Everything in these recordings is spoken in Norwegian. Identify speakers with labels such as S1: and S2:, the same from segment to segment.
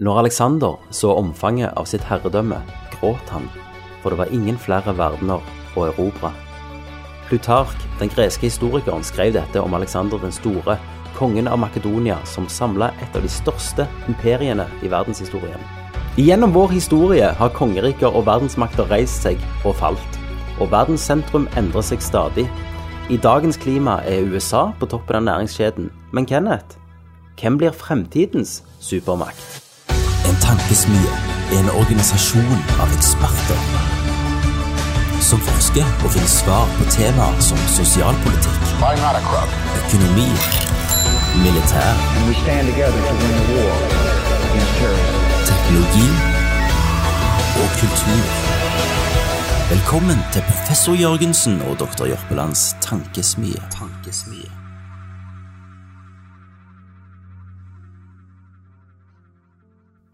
S1: Når Alexander så omfanget av sitt herredømme, gråt han, for det var ingen flere verdener å erobre. Plutark, den greske historikeren, skrev dette om Alexander den store, kongen av Makedonia, som samla et av de største imperiene i verdenshistorien. Gjennom vår historie har kongeriker og verdensmakter reist seg og falt, og verdens sentrum endrer seg stadig. I dagens klima er USA på toppen av næringskjeden, men Kenneth, hvem blir fremtidens supermakt?
S2: En tankesmie er en organisasjon av eksperter som forsker og finner svar på temaer som sosialpolitikk,
S3: I'm not a crook.
S2: økonomi, militær,
S4: We stand together to win the war against terrorism.
S2: teknologi og kultur. Velkommen til professor Jørgensen og doktor Jørpelands tankesmie. tankesmie.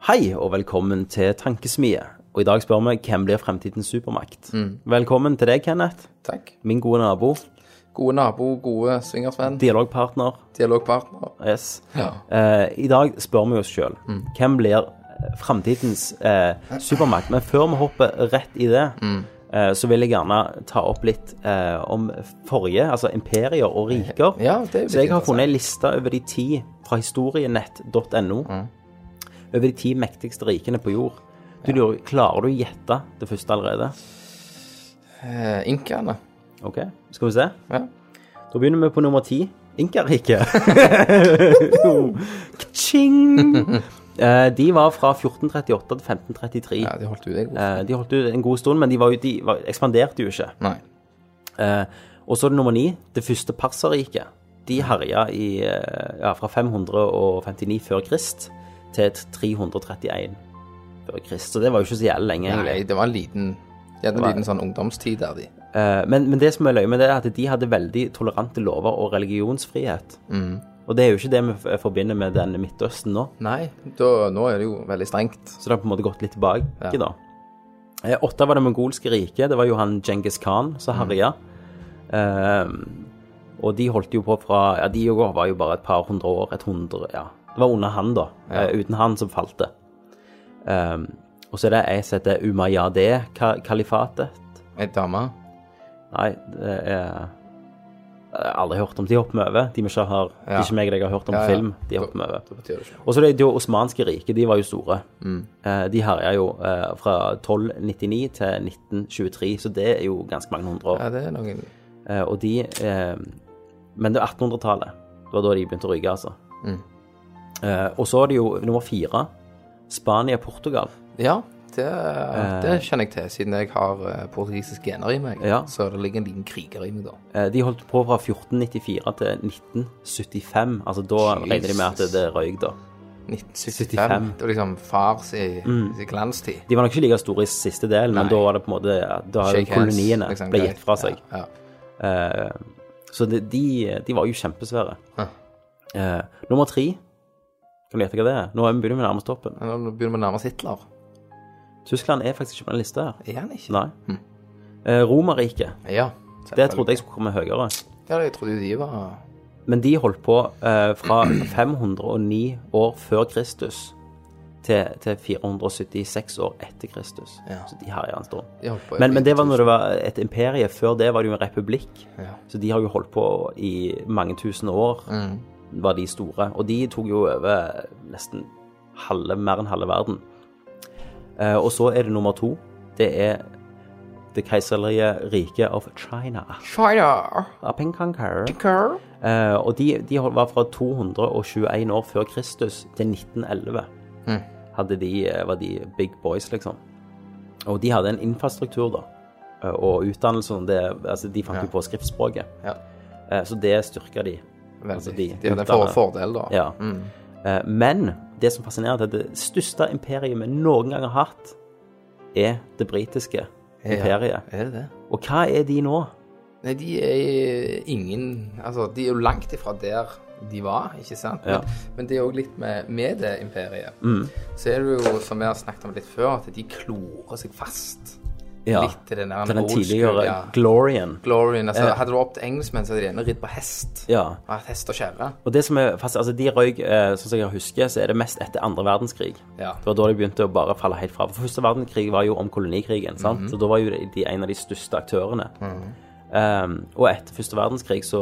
S1: Hei og velkommen til Tankesmie. Og i dag spør vi hvem blir fremtidens supermakt. Velkommen til deg, Kenneth.
S5: Takk.
S1: Min gode nabo.
S5: Gode nabo, gode swingersvenn,
S1: Dialogpartner.
S5: dialogpartner.
S1: Yes.
S5: Ja.
S1: Eh, I dag spør vi oss sjøl
S5: Mm.
S1: hvem blir eh, fremtidens eh, supermakt. Men før vi hopper rett i det,
S5: Mm.
S1: eh, så vil jeg gjerne ta opp litt eh, om forrige, altså imperier og riker.
S5: Eh, Ja, det er
S1: så jeg har
S5: interessant.
S1: funnet ei liste over de ti fra historienett.no.
S5: Mm.
S1: Over de ti mektigste rikene på jord. Du lurer, Klarer du å gjette det første allerede?
S5: Eh, Inkaene.
S1: OK, skal vi se.
S5: Ja.
S1: Da begynner vi på nummer ti. Inkariket. Ching! Eh, De var fra 1438 til 1533.
S5: ja, de holdt ut deg godt.
S1: Eh, De holdt ut en god stund, men de, var jo, de var, ekspanderte jo ikke.
S5: Nei.
S1: Eh, Og så er det nummer ni, det første Perserriket. De herja i, eh, ja, fra 559 før Krist til 331 før Krist. Så det var jo ikke så jævlig lenge, egentlig.
S5: Nei, det var en liten, de hadde en liten sånn ungdomstid der de.
S1: Eh, Men, men det som er løye med det, er at de hadde veldig tolerante lover og religionsfrihet. Og det er jo ikke det vi f- forbinder med den Midtøsten nå.
S5: Nei, da, nå er det jo veldig strengt.
S1: Så det har på en måte gått litt tilbake, da. Eh, Åtte var det mongolske riket. Det var jo han Djengis Khan som
S5: Mm.
S1: herja. Ehm, og de holdt jo på fra Ja, de jo var jo bare et par hundre år. Et hundre Ja. Det var under han, da. Eh, uten han som falt det. Ehm, og så er det ei som heter Umayyadeh-kalifatet.
S5: En dame.
S1: Nei, det er Jeg har aldri hørt om de hopper vi over. De vi ikke har De
S5: Ja.
S1: ikke meg og deg har hørt om
S5: ja.
S1: film, de hopper vi over.
S5: Det betyr det ikke.
S1: Og så er det det osmanske riket, de var jo store. Eh, De herja jo eh, fra 1299 til 1923, så det er jo ganske mange hundre år.
S5: Ja, det er noen...
S1: Eh, Og de eh, Men det er 1800-tallet. Det var da de begynte å ryke, altså.
S5: Mm.
S1: Eh, Og så er det jo nummer fire. Spania-Portugal.
S5: Ja, det,
S1: Eh.
S5: det kjenner jeg til, siden jeg har eh, portugisiske gener i meg.
S1: Ja.
S5: Så det ligger en liten kriger i meg da.
S1: Eh, De holdt på fra 1494 til 1975. Altså da regner de med at det- det røyk, da.
S5: 1975. Det var liksom fars i,
S1: Mm.
S5: i glanstid.
S1: De var nok ikke like store i siste del, men
S5: Nei.
S1: da var det på en måte ja, Da
S5: Shake hands,
S1: koloniene
S5: liksom,
S1: ble
S5: greit.
S1: gitt fra seg.
S5: Ja, ja.
S1: Eh, Så de, de, de var jo kjempesvære.
S5: Ja.
S1: Eh, nummer tre Kan du gjette hva det er? Nå er vi begynner vi nærmest toppen.
S5: Men Nå begynner vi å nærme oss Hitler.
S1: Tyskland er faktisk ikke på den lista her.
S5: Er han ikke?
S1: Nei. Eh, Romerriket.
S5: Hm. Ja.
S1: Det trodde jeg skulle komme høyere.
S5: Ja, jeg trodde jo de var
S1: Men de holdt på eh, fra 509 år før Kristus til, til 476 år etter Kristus.
S5: Ja.
S1: Så de herja en stund.
S5: De holdt på
S1: Men, men det var
S5: tusen-
S1: når det var et imperie. Før det var det jo en republikk.
S5: Ja.
S1: Så de har jo holdt på i mange tusen år,
S5: Mm.
S1: var de store. Og de tok jo over nesten halve, mer enn halve verden. Eh, og så er det nummer to. Det er Det keiserlige riket of China.
S5: China!
S1: Ah, Peng Kangkar.
S5: Girl.
S1: Eh, og de, de hold- var fra 221 år før Kristus til 1911. Hadde de, eh, var de big boys, liksom. Og de hadde en infrastruktur, da. eh, Og utdannelse og det Altså, de fant jo på skriftspråket.
S5: Ja.
S1: Eh, så det styrka de.
S5: Veldig.
S1: Altså,
S5: de,
S1: de
S5: hadde en for
S1: utdannet-
S5: fordel, da. Mm.
S1: Ja. Eh, men det som fascinerer, er at det største imperiet vi noen gang har hatt, er det britiske imperiet.
S5: Er det det?
S1: Og hva er de nå?
S5: Nei, de er ingen Altså, de er jo langt ifra der de var, ikke sant?
S1: Ja. Mm.
S5: Men, men det er òg litt med, med det imperiet. Så er det jo, som vi har snakket om litt før, at de klorer seg fast
S1: Ja,
S5: litt til den der
S1: til den
S5: old school,
S1: tidligere
S5: ja.
S1: Glorian.
S5: Glorien, altså,
S1: Ja.
S5: Hadde det vært opp til engelskmenn, så hadde de gjerne ridd på hest.
S1: Ja.
S5: Og hatt hest og kjelle.
S1: Og det som er fast, altså de røyk, eh, sånn som jeg husker, så er det mest etter andre verdenskrig.
S5: Ja.
S1: Det var da de begynte å bare falle helt fra. For første verdenskrig var jo om kolonikrigen, sant?
S5: Mhm.
S1: Så da var jo de, de en av de største aktørene. Ehm, og etter første verdenskrig så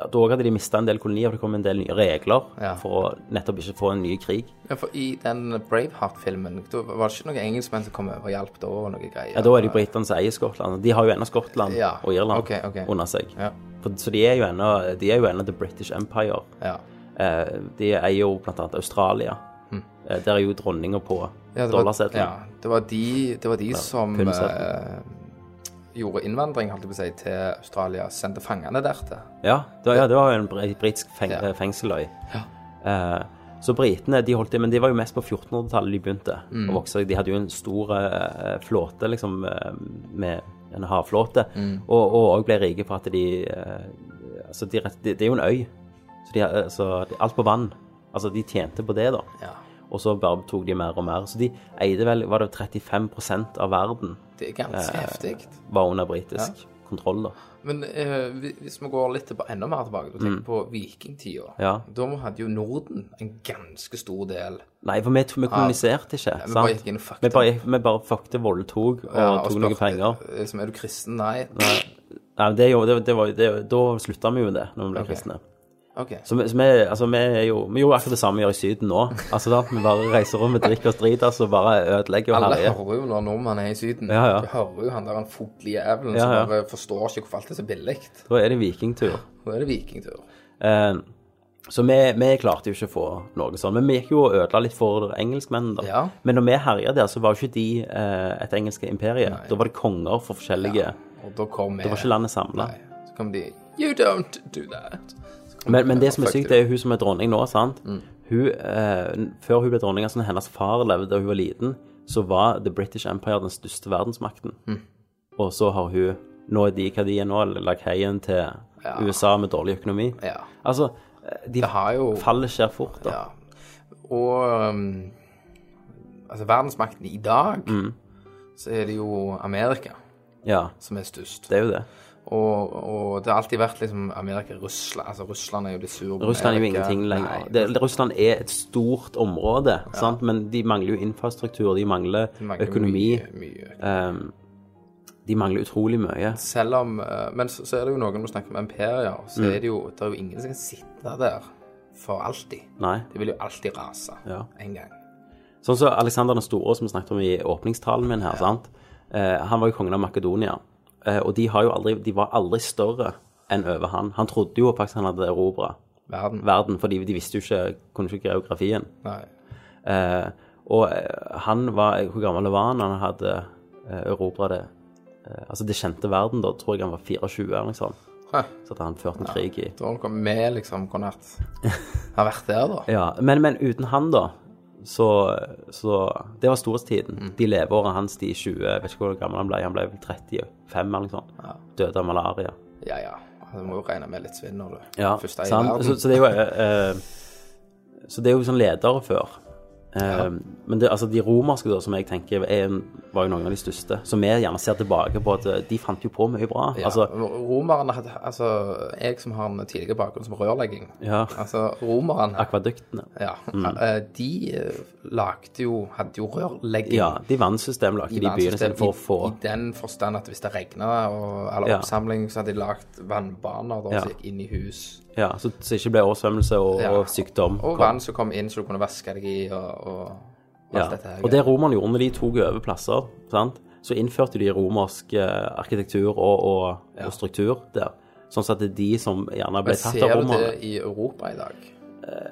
S1: ja, da hadde de mista en del kolonier, og det kom en del nye regler
S5: Ja.
S1: for å nettopp ikke få en ny krig.
S5: Ja, for I den Braveheart-filmen da var det ikke noen engelskmenn som kom over og hjalp da? og noe greier?
S1: Ja, Da er det jo britene som eier Skottland. De har jo ennå Skottland
S5: Ja.
S1: og Irland
S5: Ok, ok.
S1: under seg.
S5: Ja.
S1: For, så de er jo ennå de er jo ennå The British Empire.
S5: Ja.
S1: Eh, de eier jo blant annet Australia. Eh, der er jo dronninga på
S5: Mhm. Ja, det var-
S1: dollarseddelen.
S5: Ja, det var de, det var de som
S1: pundseddelen.
S5: eh, gjorde innvandring holdt jeg på å si, til Australia, sendte fangene der til.
S1: Ja, det var, ja, det var jo en bre- britisk feng,
S5: Ja.
S1: eh, fengseløy. Eh, så britene de holdt det, men de var jo mest på 1400-tallet de begynte
S5: Mm.
S1: å vokse. De hadde jo en stor eh, flåte, liksom, eh, med en havflåte,
S5: Mm.
S1: og og også ble rike for at de eh, Altså, de, rett- det det er jo en øy, så de, eh, så de- alt på vann. Altså, de tjente på det, da.
S5: Ja.
S1: Og så bare tok de mer og mer. Så de eide vel Var det 35 av verden eh,
S5: Det er ganske heftig.
S1: var under britisk kontroll, da?
S5: Men eh, hvi- hvis vi går litt tilba- enda mer tilbake, du tenker på vikingtida,
S1: Mm. Ja.
S5: da hadde jo Norden en ganske stor del
S1: Nei, for vi, vi kommuniserte ikke.
S5: vi
S1: sant?
S5: bare gikk inn og fuckte.
S1: Vi bare, gikk- vi bare fuckte, voldtok og
S5: Ja,
S1: tok
S5: spurte,
S1: noen penger.
S5: eh, Liksom, er du kristen? Nei.
S1: Nei, men det, er jo- det, det var, jo- det, da slutta vi jo det, når vi ble
S5: Ok.
S1: kristne.
S5: OK.
S1: Så, vi, så vi, altså, vi, er jo, vi gjorde akkurat det samme vi gjør i Syden nå. Altså, da, Vi bare reiser rundt, vi drikker oss drita, så bare ødelegger altså, og
S5: Alle
S1: herjer.
S5: hører jo når nordmenn er i Syden.
S1: Ja, ja.
S5: Du hører jo han der han fotlige jævelen
S1: Ja, ja.
S5: som bare forstår ikke hvorfor alt er så billig.
S1: Da er det vikingtur.
S5: Nå er det vikingtur.
S1: Eh, så vi, vi klarte jo ikke å få noe sånt. Men vi gikk jo og ødela litt for engelskmennene, da.
S5: Ja.
S1: Men når vi herja der, så var jo ikke de eh, et engelsk imperie. Da var det konger for forskjellige
S5: Og da kom vi
S1: Det var ikke landet samla.
S5: Nei. Så kom de You don't do that. Så kom
S1: Men, men
S5: de-
S1: det som er
S5: Fuck
S1: sykt,
S5: you.
S1: det er hun som er dronning nå, sant?
S5: Mm.
S1: Hun, eh, n- før hun ble dronning, altså når hennes far levde da hun var liten, så var The British Empire den største verdensmakten.
S5: Mm.
S1: Og så har hun Nå er de hva de er nå, lakeien til USA med dårlig økonomi.
S5: Ja.
S1: Altså, eh, de
S5: Det har jo
S1: fallet skjer fort, da.
S5: Ja. Og um, altså verdensmakten i dag,
S1: Mm.
S5: så er det jo Amerika
S1: Ja,
S5: som er størst.
S1: det er jo det.
S5: Og, og det har alltid vært liksom Amerika, Russland Altså Russland er jo blitt sur på
S1: Russland er jo
S5: Amerika.
S1: ingenting lenger.
S5: Nei.
S1: Det, Russland er et stort område, sant? men de mangler jo infrastruktur, de mangler,
S5: Det mangler
S1: økonomi.
S5: Mye, mye.
S1: ehm, de mangler utrolig mye.
S5: Selv om eh, Men så, så er det jo noen som snakker om imperier,
S1: Mm.
S5: så er det jo Det er jo ingen som kan sitte der for alltid.
S1: Nei.
S5: Det vil jo alltid rase
S1: Ja.
S5: en gang.
S1: Sånn som Alexander den store, som vi snakket om i åpningstalen min her, sant? Eh, han var jo kongen av Makedonia, eh, og de, har jo aldri, de var aldri større enn over han. Han trodde jo faktisk han hadde erobra
S5: Verden.
S1: verden, fordi de visste jo ikke, kunne ikke geografien.
S5: Nei.
S1: Eh, og eh, han var, hvor gammel var han? Han hadde eh, erobra det, eh, altså det kjente verden da, tror jeg han var 24 eller noe sånt.
S5: Hæ.
S1: Så at han førte en krig i.
S5: Da har han kommet med, liksom, kunne vært Har vært der, da.
S1: Ja, men, men uten han da, så, så Det var storhetstiden. De leveårene hans, de 20 Jeg vet ikke hvor gammel han ble. Han ble vel 35 eller noe sånt. Døde av malaria.
S5: Ja ja. Altså, du må jo regne med litt svinn når du
S1: Ja,
S5: først er i
S1: så, han,
S5: verden.
S1: så, så det er jo eh, eh, Så det er jo sånn ledere før. Eh, Men det, altså, de romerske, da, som jeg tenker er, var jo noen av de største, som vi gjerne ser tilbake på at eh, de fant jo på mye bra.
S5: ja.
S1: Altså,
S5: romerne hadde Altså, jeg som har en tidligere bakgrunn som rørlegging
S1: Ja. Mm.
S5: Altså, romerne
S1: akvaduktene.
S5: ja, eh, De eh, lagde jo Hadde jo rørlegging.
S1: Ja, de vannsystem lagde de i byene
S5: vannsystem
S1: sine for å få
S5: I, I den forstand at hvis det regna og eller
S1: Ja.
S5: oppsamling, så hadde de lagd vannbaner da,
S1: Ja.
S5: som gikk inn i hus.
S1: Ja, så det ikke ble oversvømmelse og,
S5: Ja.
S1: og sykdom. kom.
S5: Og vann som kom inn så du kunne vaske deg i, og, og alt
S1: Ja.
S5: dette her.
S1: Og det romerne gjorde når de tok over plasser, sant? så innførte de romersk eh, arkitektur og, og, og struktur der. Sånn at det er de som gjerne ble
S5: Men
S1: tatt av Eh.
S5: Ser du
S1: romerne.
S5: det i Europa i dag?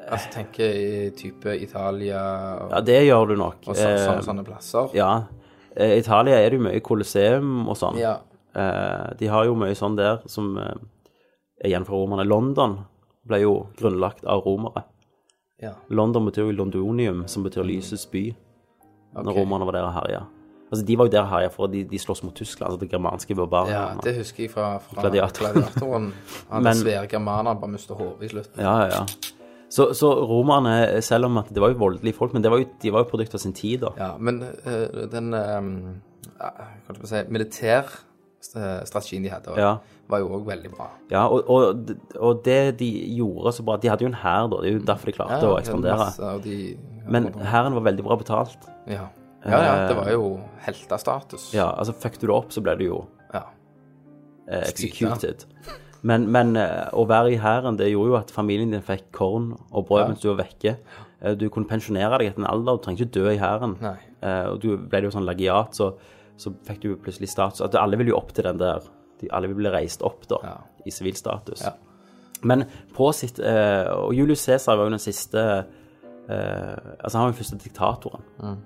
S5: altså tenk i type Italia og,
S1: Ja, det gjør du nok.
S5: og så, sånn,
S1: Eh,
S5: sånne, sånne plasser.
S1: ja. Eh, Italia er det jo mye kolosseum og sånn.
S5: Ja.
S1: Eh, de har jo mye sånn der som eh, er igjen fra romerne. London ble jo grunnlagt av romere.
S5: Ja.
S1: London betyr jo Londonium, som betyr lysets by, når
S5: Mm. ok.
S1: romerne var der og herja. Altså, de var jo der og herja for at de, de slåss mot Tyskland, altså det germanske barbaret.
S5: ja, det husker jeg fra, fra
S1: Gladiatoren.
S5: gladiatoren.
S1: Men-
S5: Han Men... svære germaneren bare mistet hodet i slutten.
S1: Ja, ja, ja. Så, så romerne, selv om at det var jo voldelige folk, men det var jo, de var jo produkt av sin tid, da.
S5: Ja, men eh, den eh, hva skal man si, militærstrategien de hadde,
S1: Ja.
S5: var jo òg veldig bra.
S1: Ja, og, og, og det de gjorde så bra De hadde jo en hær, da. Det er jo derfor de klarte å
S5: det er
S1: ekspandere.
S5: masse av de-
S1: Men hæren var veldig bra betalt.
S5: ja. ja, ja, det var jo heltestatus.
S1: Ja, altså Fucket du det opp, så ble du jo
S5: Ja.
S1: eh, executed. Men, men eh, å være i hæren, det gjorde jo at familien din fikk korn og brød mens du var vekke. Eh, Du kunne pensjonere deg etter en alder, du trengte ikke dø i hæren.
S5: Nei.
S1: Eh, Og du ble jo sånn lagiat, så, så fikk du jo plutselig status. At alle ville jo opp til den der de, Alle ville bli reist opp, da,
S5: Ja.
S1: i sivil status.
S5: Ja.
S1: Men på sitt eh, Og Julius Cæsar var jo den siste eh, Altså, han var den første diktatoren
S5: Mm.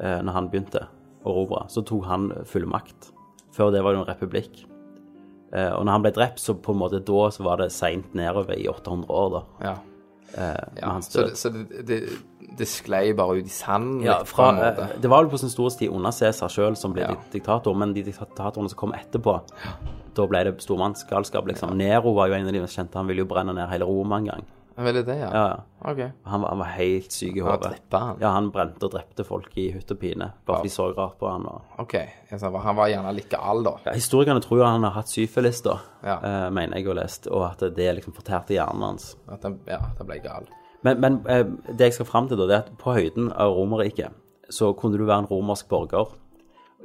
S1: eh, når han begynte å erobre. Så tok han fullmakt. Før det var det jo en republikk. Eh, og når han ble drept, så på en måte da så var det seint nedover i 800 år, da.
S5: ja.
S1: med hans
S5: Så,
S1: død.
S5: det, så det, det, det sklei bare ut i sanden?
S1: Ja,
S5: litt på
S1: fra,
S5: en måte.
S1: eh, det var vel på sin storhetstid under Cæsar sjøl som ble
S5: Ja.
S1: dik- diktator, men de diktatorene som kom etterpå, da ble det stormannsgalskap, liksom. Nero var jo en av de mest kjente, han ville jo brenne ned hele Roma en gang.
S5: Men det er det, ja?
S1: Ja, ja.
S5: OK.
S1: Han var, han var helt syk i
S5: Han
S1: hodet.
S5: drepte han?
S1: Ja, han brente og drepte folk i hytt og pine, bare fordi de så rart på han. Og...
S5: ok. Ja, så han var- han var gjerne litt gal, da.
S1: Ja, historikerne tror jo han har hatt syfilis, da,
S5: Ja.
S1: eh, mener jeg å ha lest, og at det liksom fortærte hjernen hans.
S5: At han, ja, at han ble gal.
S1: Men, men eh, det jeg skal fram til, da, det er at på høyden av Romerriket så kunne du være en romersk borger.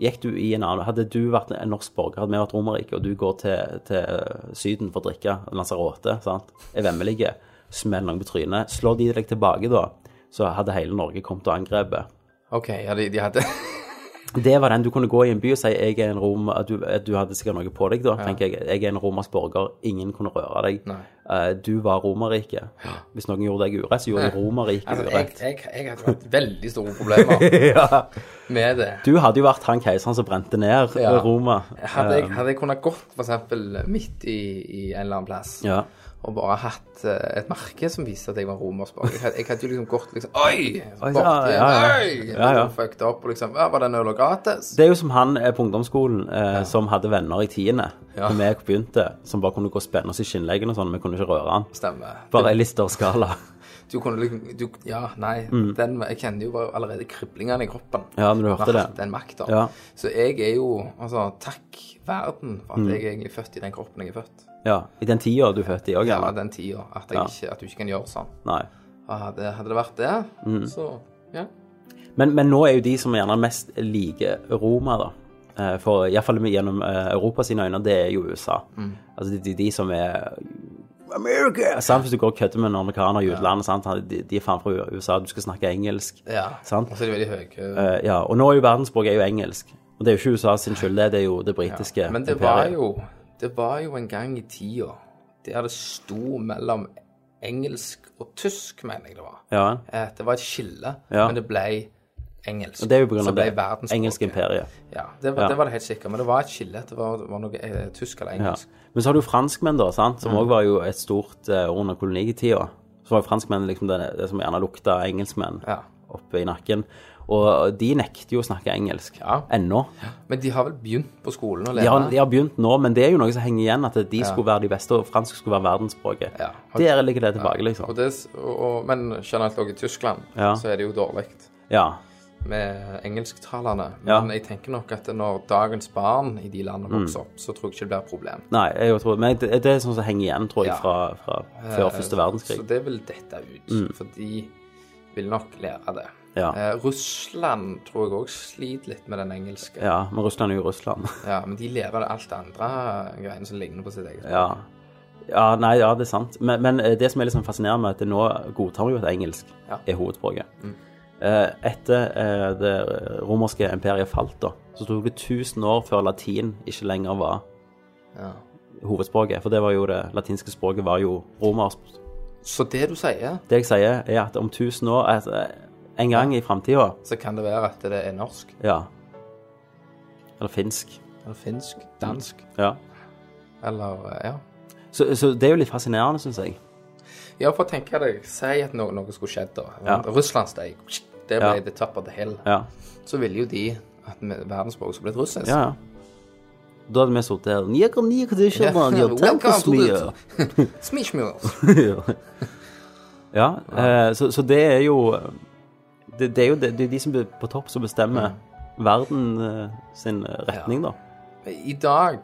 S1: Gikk du i en annen Hadde du vært en norsk borger, hadde vi vært Romerriket, og du går til, til eh, Syden for å drikke Lanzarote, sant, er vemmelige, smeller noen på trynet, slår de deg tilbake da, så hadde hele Norge kommet og angrepet.
S5: OK, ja, de, de hadde
S1: Det var den du kunne gå i en by og si jeg er en rom, at du, at du hadde sikkert noe på deg da. tenker Jeg jeg er en romersk borger, ingen kunne røre deg.
S5: Nei.
S1: Eh, Du var Romerriket. Hvis noen gjorde deg urett, så gjorde de Romerriket
S5: altså, jeg,
S1: urett.
S5: jeg, jeg hadde hatt veldig store problemer
S1: Ja.
S5: med det.
S1: Du hadde jo vært han keiseren som brente ned
S5: Ja.
S1: Roma. Um,
S5: Hadde jeg, hadde jeg kunnet gått f.eks. midt i, i en eller annen plass
S1: Ja.
S5: og bare hatt eh, et merke som viste at jeg var romersk bak. Jeg, hadde- jeg hadde jo liksom gått liksom Oi!
S1: Oi,
S5: Bort,
S1: ja,
S5: igjen,
S1: ja, ja.
S5: Oi!
S1: Ja, ja.
S5: Liksom Fucked opp og liksom Ja, var det øl og gratis?
S1: Det er jo som han eh, på ungdomsskolen eh, som hadde venner i tiende
S5: Ja.
S1: da vi begynte, som bare kunne gå og spenne oss i skinnleggen og sånn, vi kunne ikke røre han.
S5: Stemmer.
S1: Bare ei listerskala.
S5: Du kunne liksom du, Ja, nei. Den, jeg kjenner jo bare allerede kriblingene i kroppen.
S1: Mm. Ja, når du hørte
S5: Makt,
S1: det.
S5: Den makta.
S1: Ja.
S5: Så jeg er jo Altså, takk verden for
S1: Mm.
S5: at jeg er egentlig født i den kroppen jeg er født.
S1: Ja. I den tida du er født i òg,
S5: Ja,
S1: gjerne.
S5: den tida. At, jeg
S1: Ja.
S5: ikke, at du ikke kan gjøre sånn.
S1: Nei.
S5: Og Hadde, hadde det vært det,
S1: Mm.
S5: så ja.
S1: Men, men nå er jo de som gjerne mest liker Roma, da. eh, For iallfall gjennom eh, Europa sine øyne, det er jo USA.
S5: Mm.
S1: Altså det er de som er America! Sant, hvis du går og kødder med en amerikaner i utlandet, sant? han- De, de er faen fra USA, du skal snakke engelsk.
S5: ja.
S1: Sant?
S5: Og så er de veldig høye.
S1: Eh, ja, og nå er jo verdensspråket er jo engelsk. Og det er jo ikke USA sin skyld, det det er jo det britiske
S5: Men det
S1: imperiet.
S5: var jo Det var jo en gang i tida der det sto mellom engelsk og tysk, mener jeg det var.
S1: Ja,
S5: Eh, Det var et skille,
S1: Ja.
S5: men det ble engelsk.
S1: og det er jo på grunn
S5: Så
S1: av
S5: ble
S1: det
S5: verdensspråket.
S1: engelske imperiet.
S5: Ja, det var,
S1: Ja.
S5: det var det helt sikkert. Men det var et skille. Det var, det var noe eh, tysk eller
S1: Ja.
S5: engelsk. Mm.
S1: Men så har du franskmenn, da, sant? som òg var jo et stort eh, ord under kolonitida. Så var jo franskmenn liksom det, det som gjerne lukta engelskmenn
S5: Ja.
S1: oppe i nakken. Og de nekter jo å snakke engelsk
S5: Ja.
S1: ennå.
S5: Men de har vel begynt på skolen å
S1: De
S5: lære?
S1: har, de har begynt nå, men det er jo noe som henger igjen, at de skulle være de beste, og fransk skulle være verdensspråket.
S5: Ja.
S1: Der ligger det tilbake, liksom.
S5: Og det, s- og, og, men generelt også i Tyskland
S1: Ja.
S5: så er det jo dårlig
S1: Ja.
S5: med engelsktalende.
S1: Ja. Mm.
S5: Men jeg tenker nok at når dagens barn i de landene vokser opp, så tror jeg ikke det blir et problem.
S1: Nei, jeg tror, men det, det er sånn som henger igjen, tror jeg,
S5: Ja. Eh,
S1: fra, fra før første verdenskrig. Mm.
S5: Så det vil dette ut, for de vil nok lære det.
S1: Ja.
S5: Eh, Russland tror jeg òg sliter litt med den engelske.
S1: Ja, men Russland er jo Russland.
S5: Ja, Men de lever av alt det andre greiene som ligner på sitt eget.
S1: ja. ja, nei, ja, det er sant. Men, men eh, det som er liksom fascinerende, er at det nå godtar vi jo at engelsk
S5: Ja. Mm.
S1: er hovedspråket. Eh, Etter eh, det romerske imperiet falt, da, så tok det 1000 år før latin ikke lenger var
S5: Ja.
S1: hovedspråket. For det var jo det latinske språket var jo romersk.
S5: Så det du sier,
S1: Det jeg sier, er at om 1000 år, at, eh, en gang i framtida,
S5: så kan det være at det er norsk,
S1: ja Eller finsk.
S5: eller finsk,
S1: Mm.
S5: dansk,
S1: Ja.
S5: eller eh, ja.
S1: Så, så det er jo litt fascinerende, syns jeg.
S5: Ja, for tenke deg, si at noe, noe skulle skjedd da.
S1: Ja.
S5: Russland steg. Det ble
S1: Ja.
S5: the top of the hill.
S1: Ja.
S5: Så ville jo de at med- verdensspråket skulle blitt russisk.
S1: Ja, ja. Da hadde vi sittet her Nikker, nikker, det er ikke sånn, ja, tenk
S5: Welcome
S1: oss
S5: to
S1: mye.
S5: the- Smishmules.
S1: Ja, eh, så, så det er jo det, det er jo det, det er de som er på topp som bestemmer
S5: Mm.
S1: verden eh, sin retning, da.
S5: I dag,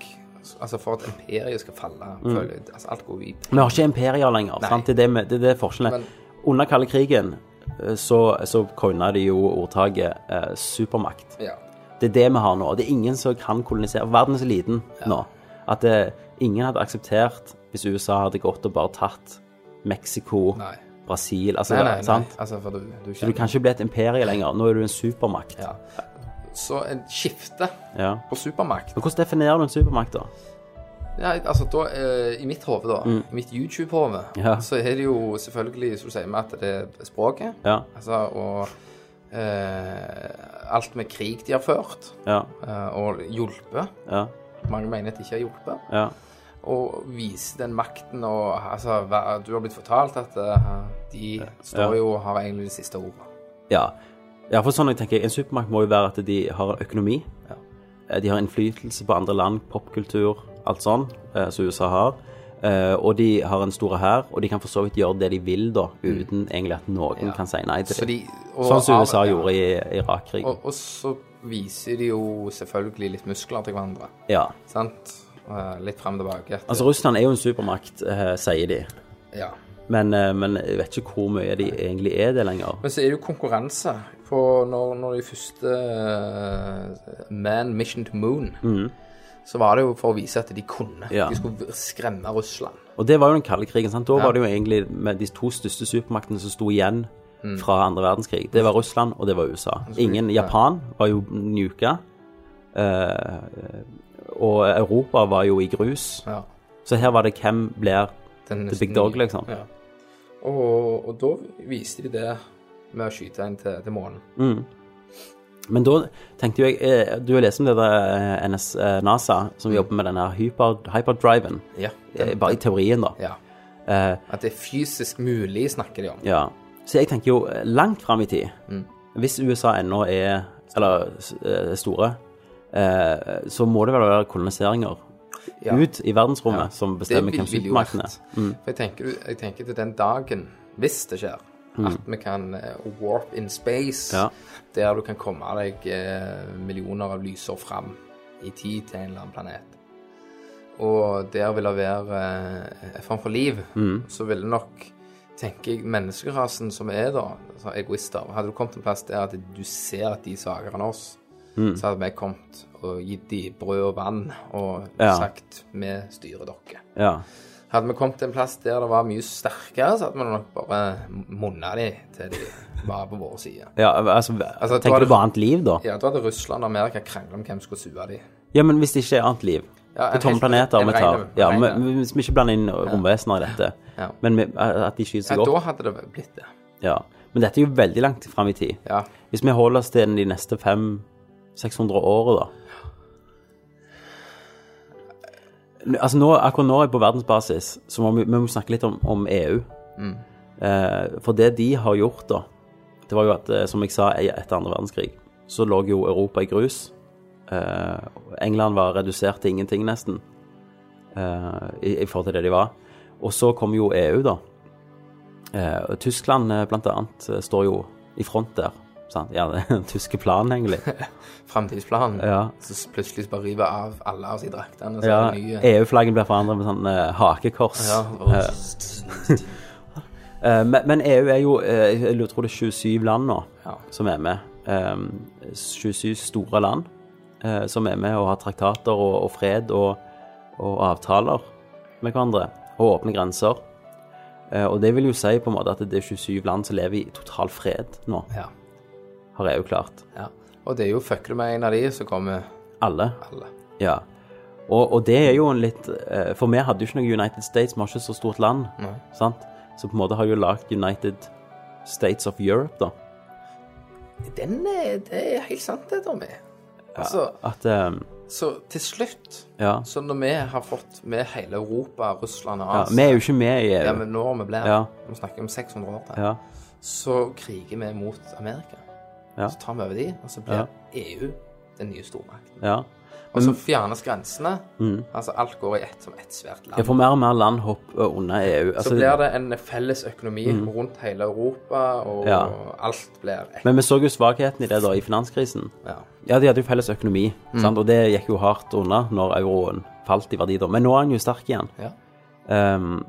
S5: altså for at imperiet skal falle,
S1: Mm.
S5: føler jeg altså Alt går i
S1: Vi har ikke imperier lenger. Sant? Det, er det, med, det er det forskjellen. er.
S5: Men-
S1: Under kalde krigen eh, så, så coina de jo ordtaket eh, supermakt.
S5: Ja.
S1: Det er det vi har nå. Det er ingen som kan kolonisere. Verden er så liten nå at eh, ingen hadde akseptert hvis USA hadde gått og bare tatt Mexico,
S5: Nei.
S1: Brasil altså,
S5: Nei, nei, nei.
S1: sant?
S5: Altså, for du, du
S1: Du kan ikke bli et imperie lenger. Nå er du en supermakt.
S5: Ja. Så en skifte
S1: Ja.
S5: på supermakt
S1: Men hvordan definerer du en supermakt, da?
S5: ja, altså da, eh, I mitt hode, da, i mitt YouTube-hode,
S1: Mm. Ja.
S5: så er det jo selvfølgelig, som du sier, med at det er språket.
S1: Ja.
S5: Altså, og eh, alt med krig de har ført,
S1: Ja.
S5: eh, og hjulpet.
S1: Ja.
S5: Mange mener at de ikke har hjulpet.
S1: ja.
S5: og vise den makten og altså, hva- Du har blitt fortalt at eh, de står
S1: Ja.
S5: jo og har egentlig det siste ordet.
S1: Ja. ja, for sånn jeg tenker, en supermakt må jo være at de har en økonomi. Eh, De har innflytelse på andre land, popkultur, alt sånn, eh, som USA har. Eh, og de har en stor hær, og de kan for så vidt gjøre det de vil, da, uten egentlig at noen kan si nei til
S5: Mm. Så
S1: det.
S5: de, og,
S1: Sånn som USA
S5: av- ja.
S1: gjorde i Irak-krigen.
S5: Og, og så viser de jo selvfølgelig litt muskler til hverandre.
S1: Ja.
S5: Sant? Eh, Litt frem og tilbake. etter-
S1: Altså, Russland er jo en supermakt, eh, sier de.
S5: ja.
S1: Men, eh, men jeg vet ikke hvor mye de egentlig er det lenger.
S5: Men så er det jo konkurranse på når, når de første eh, Man Mission to Moon Så var det jo for å vise at de kunne.
S1: Mm. Ja.
S5: De skulle skremme Russland.
S1: Og det var jo den kalde krigen. sant? Da var det jo egentlig med de to største supermaktene som sto igjen
S5: Mm.
S1: fra andre verdenskrig. Det var Russland, og det var USA. Ingen Japan var jo nuka. eh, og Europa var jo i grus.
S5: Ja.
S1: Så her var det hvem blir
S5: Den
S1: The Big
S5: nesten-
S1: Dog, liksom.
S5: Ja. Og, og da viste de det med å skyte en til, til månen.
S1: Men da tenkte jo jeg eh, Du har lest om det der eh, NS, eh, NASA, som jobber med denne hyper, hyperdriven.
S5: Mm. Ja.
S1: Eh, Bare i teorien, da. Eh,
S5: ja. At det er fysisk mulig, snakker de om.
S1: Ja. Så jeg tenker jo eh, langt fram i tid.
S5: Mm.
S1: Hvis USA ennå er eller s- eh, store, eh, så må det vel være koloniseringer
S5: Ja.
S1: ut i verdensrommet som Mm. bestemmer hvem
S5: ville jo vært.
S1: supermaktene er.
S5: For jeg tenker, jeg tenker til den dagen, hvis det skjer, at vi kan eh, warp in
S1: Mm.
S5: space,
S1: Ja.
S5: der du kan komme deg eh, millioner av lysår fram i tid til en eller annen planet. Og der vil det være eh, en form for liv.
S1: Mm.
S5: Så ville nok, tenker jeg, menneskerasen som er da, altså egoister Hadde du kommet en plass der at du ser at de er svakere enn oss,
S1: Mm.
S5: så hadde vi kommet og gitt de brød og vann og
S1: Ja.
S5: sagt vi styrer dere.
S1: Ja.
S5: Hadde vi kommet til en plass der det var mye sterkere, så hadde vi nok bare munna de til de var på vår side.
S1: ja, altså,
S5: da er
S1: Tenker
S5: det-
S1: du på annet liv, da? Ja,
S5: Ja, da hadde Russland og Amerika krangla om hvem som skulle sue de.
S1: men hvis det ikke er annet liv
S5: Ja,
S1: På
S5: en
S1: tomme
S5: helt-
S1: planeter
S5: en
S1: vi tar
S5: ren-
S1: ja,
S5: ren-
S1: men Hvis vi ikke blander inn romvesener i dette,
S5: Ja.
S1: men vi- at de skyter
S5: Ja,
S1: seg opp
S5: da hadde det vel blitt det.
S1: Ja. Men dette er jo veldig langt fram i tid.
S5: Ja.
S1: Hvis vi holder oss til de neste 500-600 årene, da N- Altså nå, Akkurat nå er jeg på verdensbasis, så må vi, vi må snakke litt om, om EU. Eh, for det de har gjort, da, det var jo at, eh, som jeg sa, e- etter andre verdenskrig, så lå jo Europa i grus. Eh, England var redusert til ingenting, nesten, eh, i, i forhold til det de var. Og så kom jo EU, da. Eh, og Tyskland eh, blant annet eh, står jo i front der. Sant? Ja, det er den tyske planen, egentlig.
S5: Framtidsplanen.
S1: Ja.
S5: Så s- plutselig bare river av alle av de draktene. Så
S1: Ja,
S5: er det nye.
S1: EU-flaggen blir forandret med sånn eh, hakekors.
S5: Ja, og-
S1: Eh, men, men EU er jo eh, Jeg lurer- tror det er 27 land nå
S5: Ja.
S1: som er med. Eh, 27 store land eh, som er med og har traktater og, og fred og, og avtaler med hverandre. Og åpne grenser. Eh, og det vil jo si på en måte at det er 27 land som lever i total fred nå,
S5: ja.
S1: har EU klart.
S5: ja. Og det er jo fucker du med en av de, så kommer
S1: Alle.
S5: alle.
S1: Ja. Og, og det er jo en litt eh, For vi hadde jo ikke noe United States, vi har ikke så stort land. Sant? Så på en måte har vi jo lagd United States of Europe, da.
S5: Den er, det er helt sant, det, Tommy. Altså,
S1: At eh,
S5: så til slutt,
S1: Ja.
S5: så når vi har fått med hele Europa, Russland og
S1: ja,
S5: Asia
S1: Vi er jo ikke med i EU.
S5: Ja, men når vi blir
S1: Ja.
S5: Vi snakker om 600 år til.
S1: Ja.
S5: Så kriger vi mot Amerika.
S1: Ja.
S5: Så tar vi over de, og så blir EU E den nye stormakten.
S1: Ja.
S5: Og så fjernes grensene. Altså alt går i ett som ett svært land.
S1: Mm. Jeg får mer og mer land hopp under EU.
S5: så
S1: Altså, Mm.
S5: blir det en felles økonomi rundt hele Europa, og
S1: Ja.
S5: alt blir ett.
S1: Men vi så jo svakheten i det da i finanskrisen.
S5: Ja.
S1: Ja, de hadde jo felles økonomi,
S5: Mm.
S1: sant? og det gikk jo hardt unna når euroen falt i verdi da. Men nå er den jo sterk igjen.
S5: Ja.
S1: Ehm,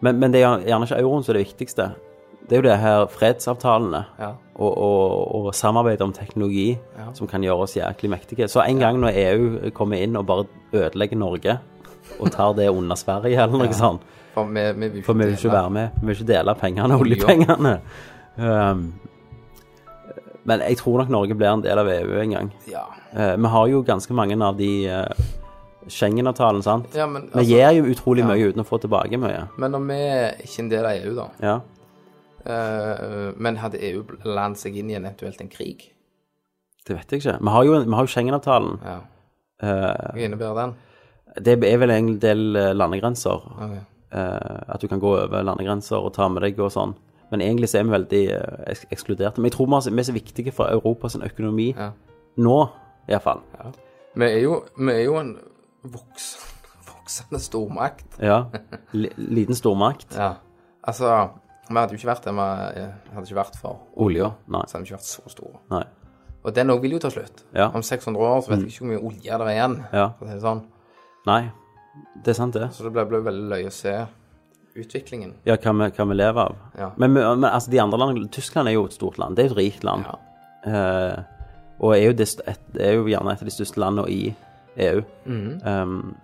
S1: men, men det er gjerne ikke euroen som er det viktigste. Det er jo det her fredsavtalene
S5: Ja.
S1: og, og, og samarbeid om teknologi som kan gjøre oss jæklig mektige. Så en gang når EU kommer inn og bare ødelegger Norge og tar det under Sverige eller noe sånt,
S5: For vi, vi vil
S1: for vi vil
S5: dele.
S1: ikke være med. Vi vil ikke dele pengene, oljepengene. Um, men jeg tror nok Norge blir en del av EU en gang.
S5: Ja.
S1: Eh, vi har jo ganske mange av de eh, Schengen-avtalen, sant?
S5: ja, men,
S1: vi
S5: altså,
S1: gir jo utrolig mye uten å få tilbake mye.
S5: men når vi er ikke en del av EU, da
S1: Ja.
S5: eh, Men hadde EU landet seg inn i en eventuelt en krig?
S1: Det vet jeg ikke. Vi har jo, vi har jo Schengen-avtalen. uh,
S5: Ja. Hva innebærer den?
S1: Det er vel en del eh, landegrenser.
S5: Ok.
S1: eh, at du kan gå over landegrenser og ta med deg og sånn. Men egentlig så er vi veldig eh, eks- ekskluderte. Men jeg tror vi er så- vi er så viktige for Europas økonomi
S5: Ja.
S1: nå, iallfall.
S5: Vi er jo, vi er jo en voksende, voksende stormakt.
S1: Ja. L liten stormakt.
S5: Ja. Altså, vi hadde jo ikke vært det vi eh, hadde ikke vært for
S1: Olja. Nei.
S5: Så hadde vi ikke vært så store.
S1: Nei.
S5: Og den òg vil jo ta slutt.
S1: Ja.
S5: Om 600 år så vet vi ikke hvor mye olje det er igjen.
S1: Ja.
S5: for å si det Sånn.
S1: Nei. Det er sant, det.
S5: Så det ble, ble veldig løye å se utviklingen.
S1: Ja, hva vi, hva vi lever av.
S5: Ja.
S1: Men, vi- men altså, de andre landene Tyskland er jo et stort land. Det er jo et rikt land.
S5: Ja.
S1: Eh, og er jo, det, st- et, er jo gjerne et av de største landene i EU. Ehm,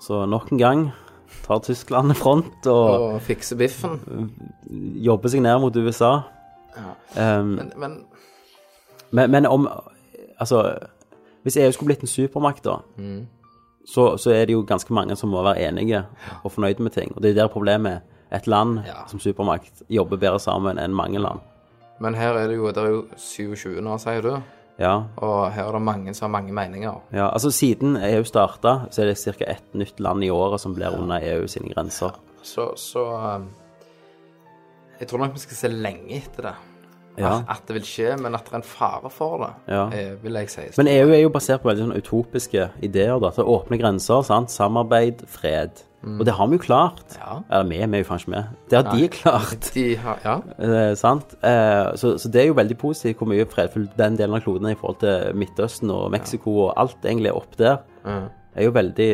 S1: så nok en gang tar Tyskland front og
S5: Og fikse biffen.
S1: jobber seg ned mot USA. Ehm,
S5: Men, men
S1: men, men om Altså, hvis EU skulle blitt en supermakt, da, så, så er det jo ganske mange som må være enige og fornøyde med ting. Og det er der problemet er. Et land
S5: Ja.
S1: som supermakt jobber bedre sammen enn mange land.
S5: Men her er det jo, det er jo 27 nå, sier du.
S1: Ja,
S5: Og her er det mange som har mange meninger.
S1: ja. Altså, siden EU starta, så er det ca. ett nytt land i året som blir under EU sine grenser.
S5: Så, så um, Jeg tror nok vi skal se lenge etter det.
S1: Ja.
S5: At, at det vil skje, men at det er en fare for det,
S1: Ja.
S5: eh, vil jeg si.
S1: Men EU er jo basert på veldig sånn utopiske ideer. da, til Åpne grenser, sant? samarbeid, fred. Og det har vi jo klart.
S5: Mm. Ja.
S1: Eller vi, vi er jo faen ikke med. Det har de klart.
S5: De har, ja,
S1: Eh, sant? Eh, så, så det er jo veldig positivt hvor mye fredfull den delen av kloden er i forhold til Midtøsten og Mexico og alt egentlig er opp der. er jo veldig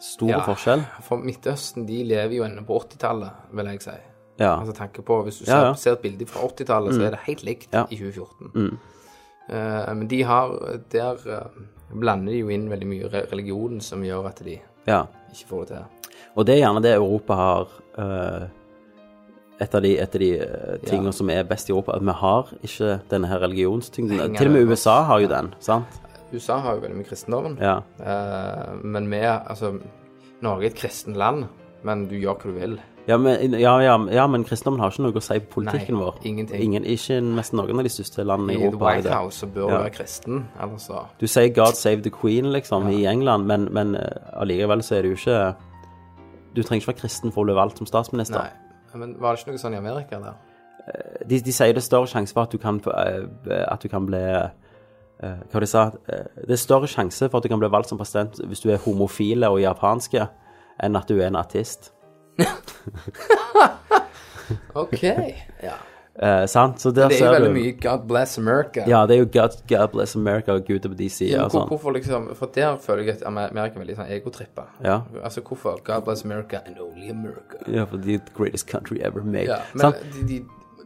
S1: stor
S5: Ja.
S1: forskjell.
S5: for Midtøsten de lever jo ennå på 80-tallet, vil jeg si.
S1: Ja.
S5: Altså tanke på, Hvis du
S1: Ja, ja. Mm.
S5: ser, ser et bilde fra 80-tallet, så er det helt likt
S1: Ja. Mm.
S5: i 2014. Eh, men de har Der eh, blander de jo inn veldig mye re- religion som gjør at de
S1: ja.
S5: ikke får det til.
S1: Og det er gjerne det Europa har eh, Et av de, et av de eh, tingene som er best i Europa, at vi har ikke denne her religionstyngden.
S5: Henger
S1: Til og med
S5: det på oss.
S1: USA har jo den, sant?
S5: USA har jo veldig mye kristendommen.
S1: Ja.
S5: Eh, men vi Altså, Norge er et kristent land, men du gjør hva du vil.
S1: Ja, men, ja, ja, ja, men kristendommen har ikke noe å si på politikken
S5: Nei,
S1: vår.
S5: ingenting.
S1: Ingen, ikke nesten noen av de største landene i
S5: I The
S1: Europa. har
S5: White
S1: det.
S5: House så bør
S1: Ja.
S5: du være kristen. Altså,
S1: Du sier 'God save the Queen', liksom, i England, men, men eh, allikevel så er det jo ikke Du trenger ikke være kristen for å bli valgt som statsminister.
S5: nei. Men var det ikke noe sånn i Amerika der?
S1: De, de sier det er større sjanse for at du kan, eh, at du kan bli eh, Hva var det de sa? Eh, Det er større sjanse for at du kan bli valgt som president hvis du er homofile og japanske, enn at du er en artist.
S5: OK. ja.
S1: Eh, sant? Så der
S5: Det er jo
S1: ser
S5: veldig
S1: du
S5: mye God bless America.
S1: Ja, det er jo God, God bless America og Gud er på de
S5: Ja,
S1: sider
S5: men
S1: og
S5: hvor,
S1: sånn.
S5: hvorfor liksom, For der føler jeg at Amer- Amerika er veldig sånn egotrippa.
S1: Ja.
S5: Altså hvorfor God bless America and only America?
S1: Ja, for the greatest country ever made.
S5: Ja, men
S1: sant?
S5: de, de,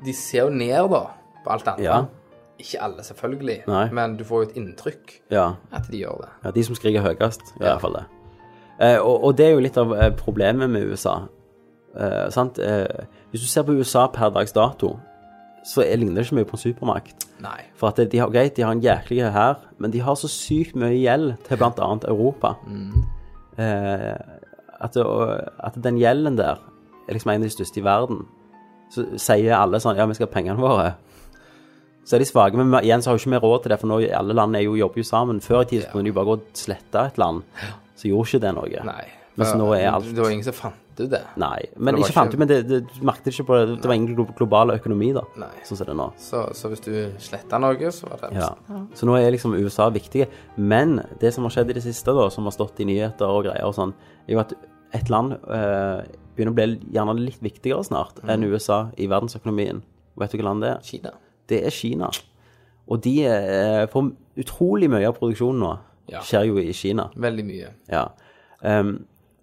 S5: de ser jo ned da på alt
S1: Sånn.
S5: annet.
S1: Ja.
S5: Ikke alle, selvfølgelig,
S1: Nei.
S5: men du får jo et inntrykk
S1: Ja.
S5: at de gjør det.
S1: Ja, de som skriker høyest, i hvert fall det. Eh, og, og det er jo litt av eh, problemet med USA. Eh, sant? Eh, hvis du ser på USA per dags dato, så er, ligner det ikke mye på en supermakt.
S5: Nei.
S1: For at de har, greit, de har en jæklig hær, men de har så sykt mye gjeld til bl.a. Europa.
S5: Mm.
S1: Eh, at, det, og- at den gjelden der er liksom en av de største i verden. Så sier alle sånn Ja, vi skal ha pengene våre. Så er de svake, men igjen så har jo ikke vi råd til det, for nå er alle land er jo, jobber jo sammen. Før i tiden så kunne de bare gå og slette et land, så gjorde ikke det noe.
S5: Nei.
S1: Mens nå er
S5: For
S1: alt
S5: Det var ingen som fant ut det.
S1: Nei, men
S5: det var
S1: ikke fant
S5: ikke-
S1: ut, men det, det, du merket ikke på det. Det var ingen glo- global økonomi, da.
S5: Nei.
S1: Sånn som det er nå.
S5: Så, så hvis du sletta noe, så var det
S1: Ja. Så nå er liksom USA viktige. Men det som har skjedd i det siste, da, som har stått i nyheter og greier og sånn, er jo at et land eh, begynner å bli gjerne litt viktigere snart
S5: Mm.
S1: enn USA i verdensøkonomien. Vet du hvilket land det er?
S5: Kina.
S1: Det er Kina. Og de eh, får utrolig mye av produksjonen nå.
S5: Ja.
S1: Skjer jo i Kina.
S5: Veldig mye.
S1: Ja. Ehm,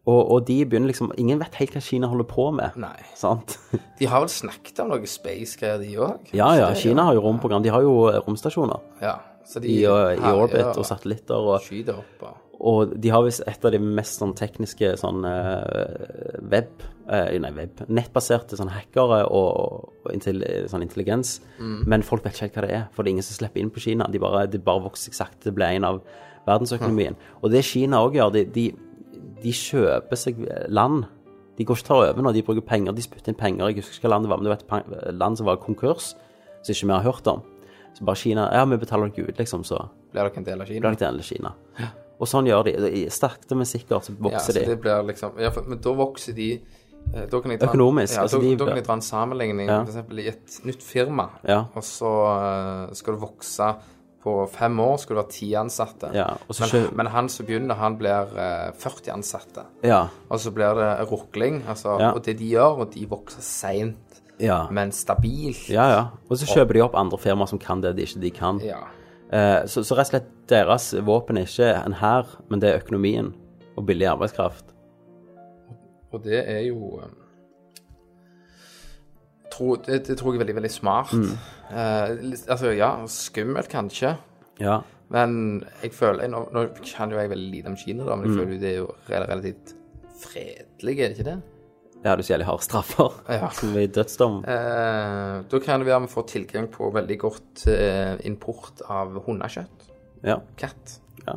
S1: og, og de begynner liksom Ingen vet helt hva Kina holder på med.
S5: Nei.
S1: Sant?
S5: De har vel snakket om noe space-greier, de òg?
S1: Ja, ja. Kina har jo romprogram. De har jo romstasjoner
S5: Ja, så de
S1: i, eh, i
S5: her-
S1: orbit
S5: ja,
S1: og satellitter. Og,
S5: Skyter opp og
S1: og de har visst et av de mest sånn tekniske sånn eh, web eh, Nei, web. Nettbaserte sånn hackere og, og intel, sånn intelligens. Men folk vet ikke helt hva det er, for det er ingen som slipper inn på Kina. De bare, de bare vokser seg sakte. Det ble en av verdensøkonomien. Og det Kina òg gjør, de, de, de kjøper seg land. De går ikke og tar over nå, de bruker penger, de spytter inn penger. Jeg husker ikke hva land det var, men det var et pan- land som var konkurs, som ikke vi har hørt om. Så bare Kina Ja, vi betaler dere ut, liksom, så
S5: blir dere en del av Kina.
S1: langt igjen til Kina. Og sånn gjør de. I- Sakte, men sikkert så
S5: Ja, så
S1: vokser
S5: det
S1: de.
S5: blir liksom ja, for, Men da vokser de eh, da kan jeg dra,
S1: Økonomisk,
S5: Ja,
S1: altså
S5: da,
S1: de-
S5: da kan jeg dra en sammenligning.
S1: Ja.
S5: For eksempel i et nytt firma,
S1: Ja.
S5: og så eh, skal du vokse på fem år, skal du ha ti ansatte.
S1: Ja, og så
S5: men,
S1: skjø-
S5: men han som begynner, han blir eh, 40 ansatte.
S1: Ja.
S5: Og så blir det rukling. Altså,
S1: Ja.
S5: Og det de gjør, og de vokser seint,
S1: Ja.
S5: men stabilt.
S1: ja, ja. Og så kjøper de opp andre firmaer som kan det de ikke de kan.
S5: Ja.
S1: Eh, Så, så rett og slett deres våpen er ikke en hær, men det er økonomien og billig arbeidskraft.
S5: Og det er jo eh, tro, det, det tror jeg er veldig, veldig smart. Eh, litt- altså, ja, skummelt kanskje,
S1: Ja.
S5: men jeg føler Nå, nå kan jo jeg veldig lite om Kina, da, men jeg føler jo det er jo rel- relativt fredelig, er det ikke det?
S1: Ja, du sier de har straffer.
S5: Ja.
S1: Som i dødsdom.
S5: Eh, da kan det være vi får tilgang på veldig godt eh, import av hundekjøtt.
S1: Ja.
S5: Katt.
S1: ja.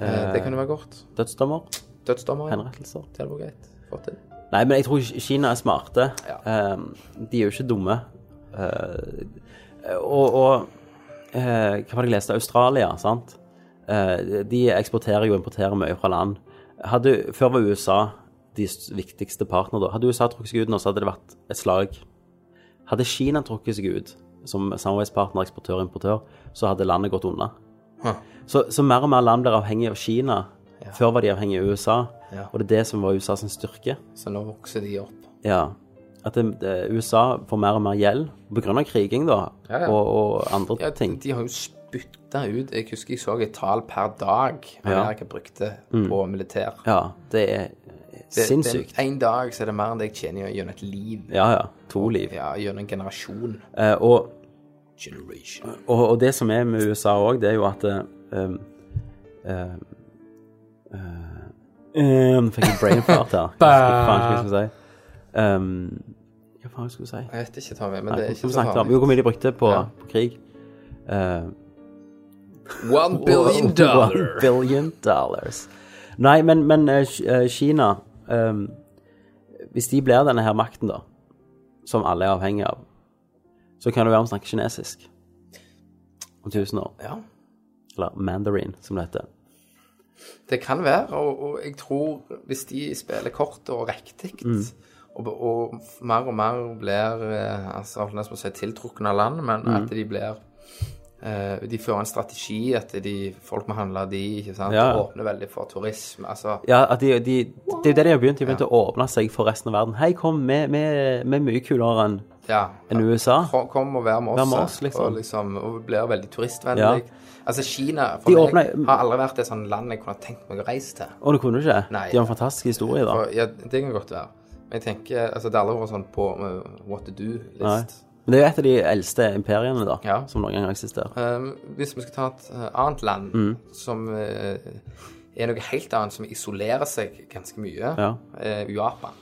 S5: Eh, det kan jo være godt.
S1: Dødsdommer.
S5: Dødsdommer. ja.
S1: Henrettelser.
S5: Det hadde vært greit. Fått det.
S1: Nei, men jeg tror ikke Kina er smarte.
S5: Ja.
S1: Eh, de er jo ikke dumme. Eh, og og eh, hva var det jeg leste? Australia, sant? Eh, de eksporterer jo og importerer mye fra land. Hadde, før var USA de s- viktigste partner da. Hadde USA trukket seg ut nå, så hadde det vært et slag. Hadde Kina trukket seg ut som samarbeidspartner, eksportør og importør, så hadde landet gått unna.
S5: Huh.
S1: Så, så mer og mer land blir avhengig av Kina. Før var de avhengig av USA,
S5: Ja.
S1: og det er det som var USAs styrke.
S5: Så nå vokser de opp.
S1: Ja. At det, det, USA får mer og mer gjeld pga. kriging, da,
S5: Ja, ja.
S1: Og, og andre
S5: Ja,
S1: ting.
S5: De har jo spytta ut Jeg husker jeg så et tall per dag Amerika brukte på militær.
S1: Mm. Ja, det er sinnssykt.
S5: En dag så er det mer enn det jeg tjener gjennom et liv.
S1: Ja, ja. To liv.
S5: Ja, gjennom en generasjon.
S1: Eh, og,
S5: Generation.
S1: og, og det som er med USA òg, det er jo at eh, um, eh, eh, um, Fikk jeg brain fart her. Hva faen skulle jeg skulle si? Um, hva faen skulle jeg si?
S5: Jeg vet ikke, Tommy, men
S1: Nei,
S5: det er
S1: hva
S5: ikke så
S1: snakket vi om?
S5: farlig.
S1: Jo, hvor mye de brukte på,
S5: Ja.
S1: på krig. Eh,
S5: One billion
S1: One
S5: dollar.
S1: billion dollars. Nei, men, men eh, Ki- eh, Kina ehm, Hvis de blir denne her makten, da, som alle er avhengig av, så kan det være vi snakker kinesisk om 1000 år.
S5: Ja,
S1: Eller mandarin, som det heter.
S5: det kan være, og, og jeg tror hvis de spiller kort og riktig
S1: Mm.
S5: Og, og mer og mer blir eh, altså, jeg holdt nesten på å si tiltrukken av land, men
S1: Mm.
S5: at de blir eh, De fører en strategi, at de, folk må handle av de, ikke sant?
S1: Ja.
S5: Åpner veldig for turisme. Altså,
S1: Ja, at de, de, Det er jo det de har begynt. De har begynt å åpne seg for resten av verden. Hei, kom, vi vi- vi er mye kulere enn
S5: ja.
S1: enn USA.
S5: Kom, kom og vær med oss.
S1: Vær med oss, liksom.
S5: Og, liksom, og blir veldig turistvennlig.
S1: Ja.
S5: Altså, Kina for
S1: De
S5: meg
S1: åpner-
S5: har aldri vært et sånt land jeg kunne tenkt meg å reise til.
S1: Og du kunne ikke?
S5: Nei.
S1: De har en fantastisk historie, da.
S5: For, ja, det kan godt være. Men jeg tenker, altså, det har aldri vært sånn på eh, what to
S1: Nei.
S5: do-list.
S1: Men det er jo et av de eldste imperiene, da,
S5: Ja.
S1: som noen gang har eksistert.
S5: Eh, hvis vi skal ta et eh, annet land
S1: Mm.
S5: som eh, er noe helt annet, som isolerer seg ganske mye,
S1: Ja.
S5: eh, Japan.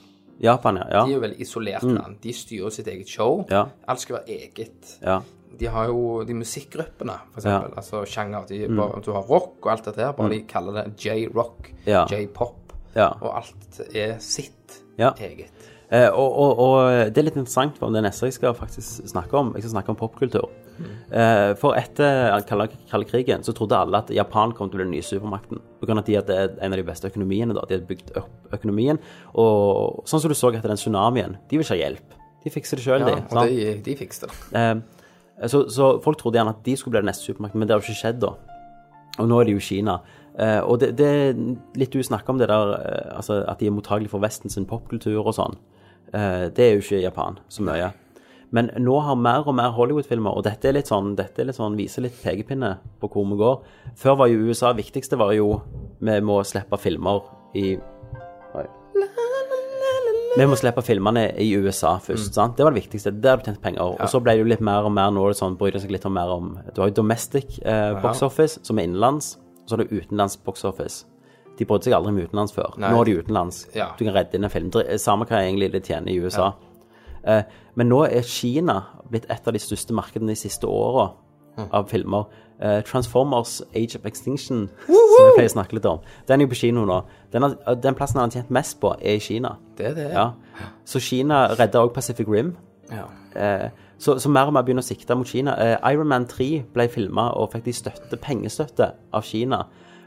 S1: Japan, ja.
S5: De er
S1: Ja.
S5: jo veldig isolert land. De styrer sitt eget show.
S1: Ja.
S5: Alt skal være eget.
S1: ja.
S5: De har jo de musikkgruppene, for
S1: Ja. Mm.
S5: eksempel. Altså sjanger. De, bare, Du har rock og alt dette her, bare de kaller det j-rock,
S1: Ja.
S5: j-pop.
S1: ja.
S5: Og alt er sitt
S1: Ja.
S5: eget.
S1: Eh, og, og, og det er litt interessant for om det neste jeg skal faktisk snakke om. Jeg skal snakke om popkultur.
S5: Mm.
S1: Eh, For etter kalde kalde krigen så trodde alle at Japan kom til å bli den nye supermakten. På grunn av at de hadde en av de beste økonomiene. da, De hadde bygd opp økonomien. Og sånn som du så etter den tsunamien, de vil ikke ha hjelp. De fikser det sjøl,
S5: Ja,
S1: de.
S5: og
S1: sant?
S5: de, de fikste det.
S1: Eh, Så, så folk trodde gjerne at de skulle bli den neste supermakten, men det har jo ikke skjedd da. Og nå er det jo Kina. Eh, og det, det er litt du snakker om det der, eh, altså at de er mottagelige for Vesten sin popkultur og sånn. Eh, det er jo ikke Japan så mye. Men nå har mer og mer Hollywood-filmer, og dette er litt sånn, dette er litt sånn, viser litt pekepinne på hvor vi går. Før var jo USA, viktigste var jo, vi må slippe filmer i vi må slippe filmene i USA først. sant? Det var det viktigste. Der du tjente penger. Og så ble det jo litt mer og mer nå er det sånn, bryr det seg litt om mer om Du har jo domestic eh, box office, som er innenlands. Og så har du utenlands box office. De brydde seg aldri om utenlands før.
S5: Nei.
S1: Nå er de utenlands.
S5: Ja.
S1: Du kan redde inn en film. Dri- Samme hva egentlig det tjener i USA. Eh, men nå er Kina blitt et av de største markedene de siste åra av filmer. Eh, Transformers Age of Extinction, som jeg pleier å snakke litt om, den er jo på kino nå. Den, har- den plassen han har tjent mest på, er i Kina.
S5: Det er det.
S1: Ja. Så Kina redda òg Pacific Rim.
S5: Ja.
S1: Eh, så, så mer og mer begynner å sikte mot Kina. Eh, Iron Man 3 ble filma og fikk de støtte, pengestøtte av Kina.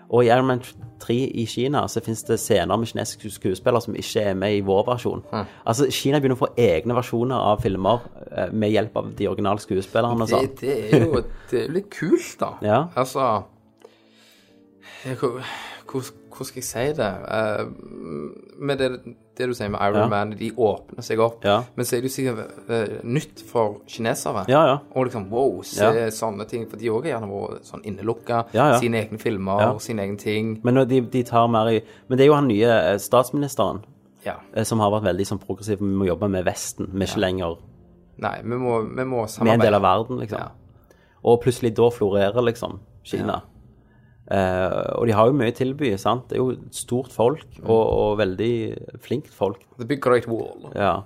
S1: Og i Iron Man 3 i Kina så fins det scener med kinesiske skuespillere som ikke er med i vår versjon. Altså, Kina begynner å få egne versjoner av filmer eh, med hjelp av de originale skuespillerne og
S5: Det,
S1: sånn.
S5: det er jo det er jo litt kult, da.
S1: Ja.
S5: Altså jeg- hvor, hvor, hvor skal jeg si det? Eh, med det, det du sier med Iron
S1: Ja.
S5: Man, de åpner seg opp.
S1: Ja.
S5: Men så er det jo sikkert eh, nytt for kinesere.
S1: Ja, ja.
S5: Og liksom wow, se
S1: Ja.
S5: sånne ting. For de òg har gjerne vært sånn innelukka.
S1: Ja, ja.
S5: Sine egne filmer,
S1: Ja.
S5: sine egne ting.
S1: Men, når de, de tar mer i, men det er jo han nye eh, statsministeren
S5: Ja.
S1: eh, som har vært veldig sånn progressiv. Vi må jobbe med Vesten, vi er ikke lenger
S5: Nei, vi må, vi må
S1: Vi er en
S5: samarbeide.
S1: del av verden, liksom.
S5: Ja.
S1: Og plutselig da florerer liksom Kina. Eh, og de har jo mye å tilby, sant. Det er jo et stort folk,
S5: Mm.
S1: og, og veldig flinkt folk.
S5: The Big Great Wall.
S1: Ja.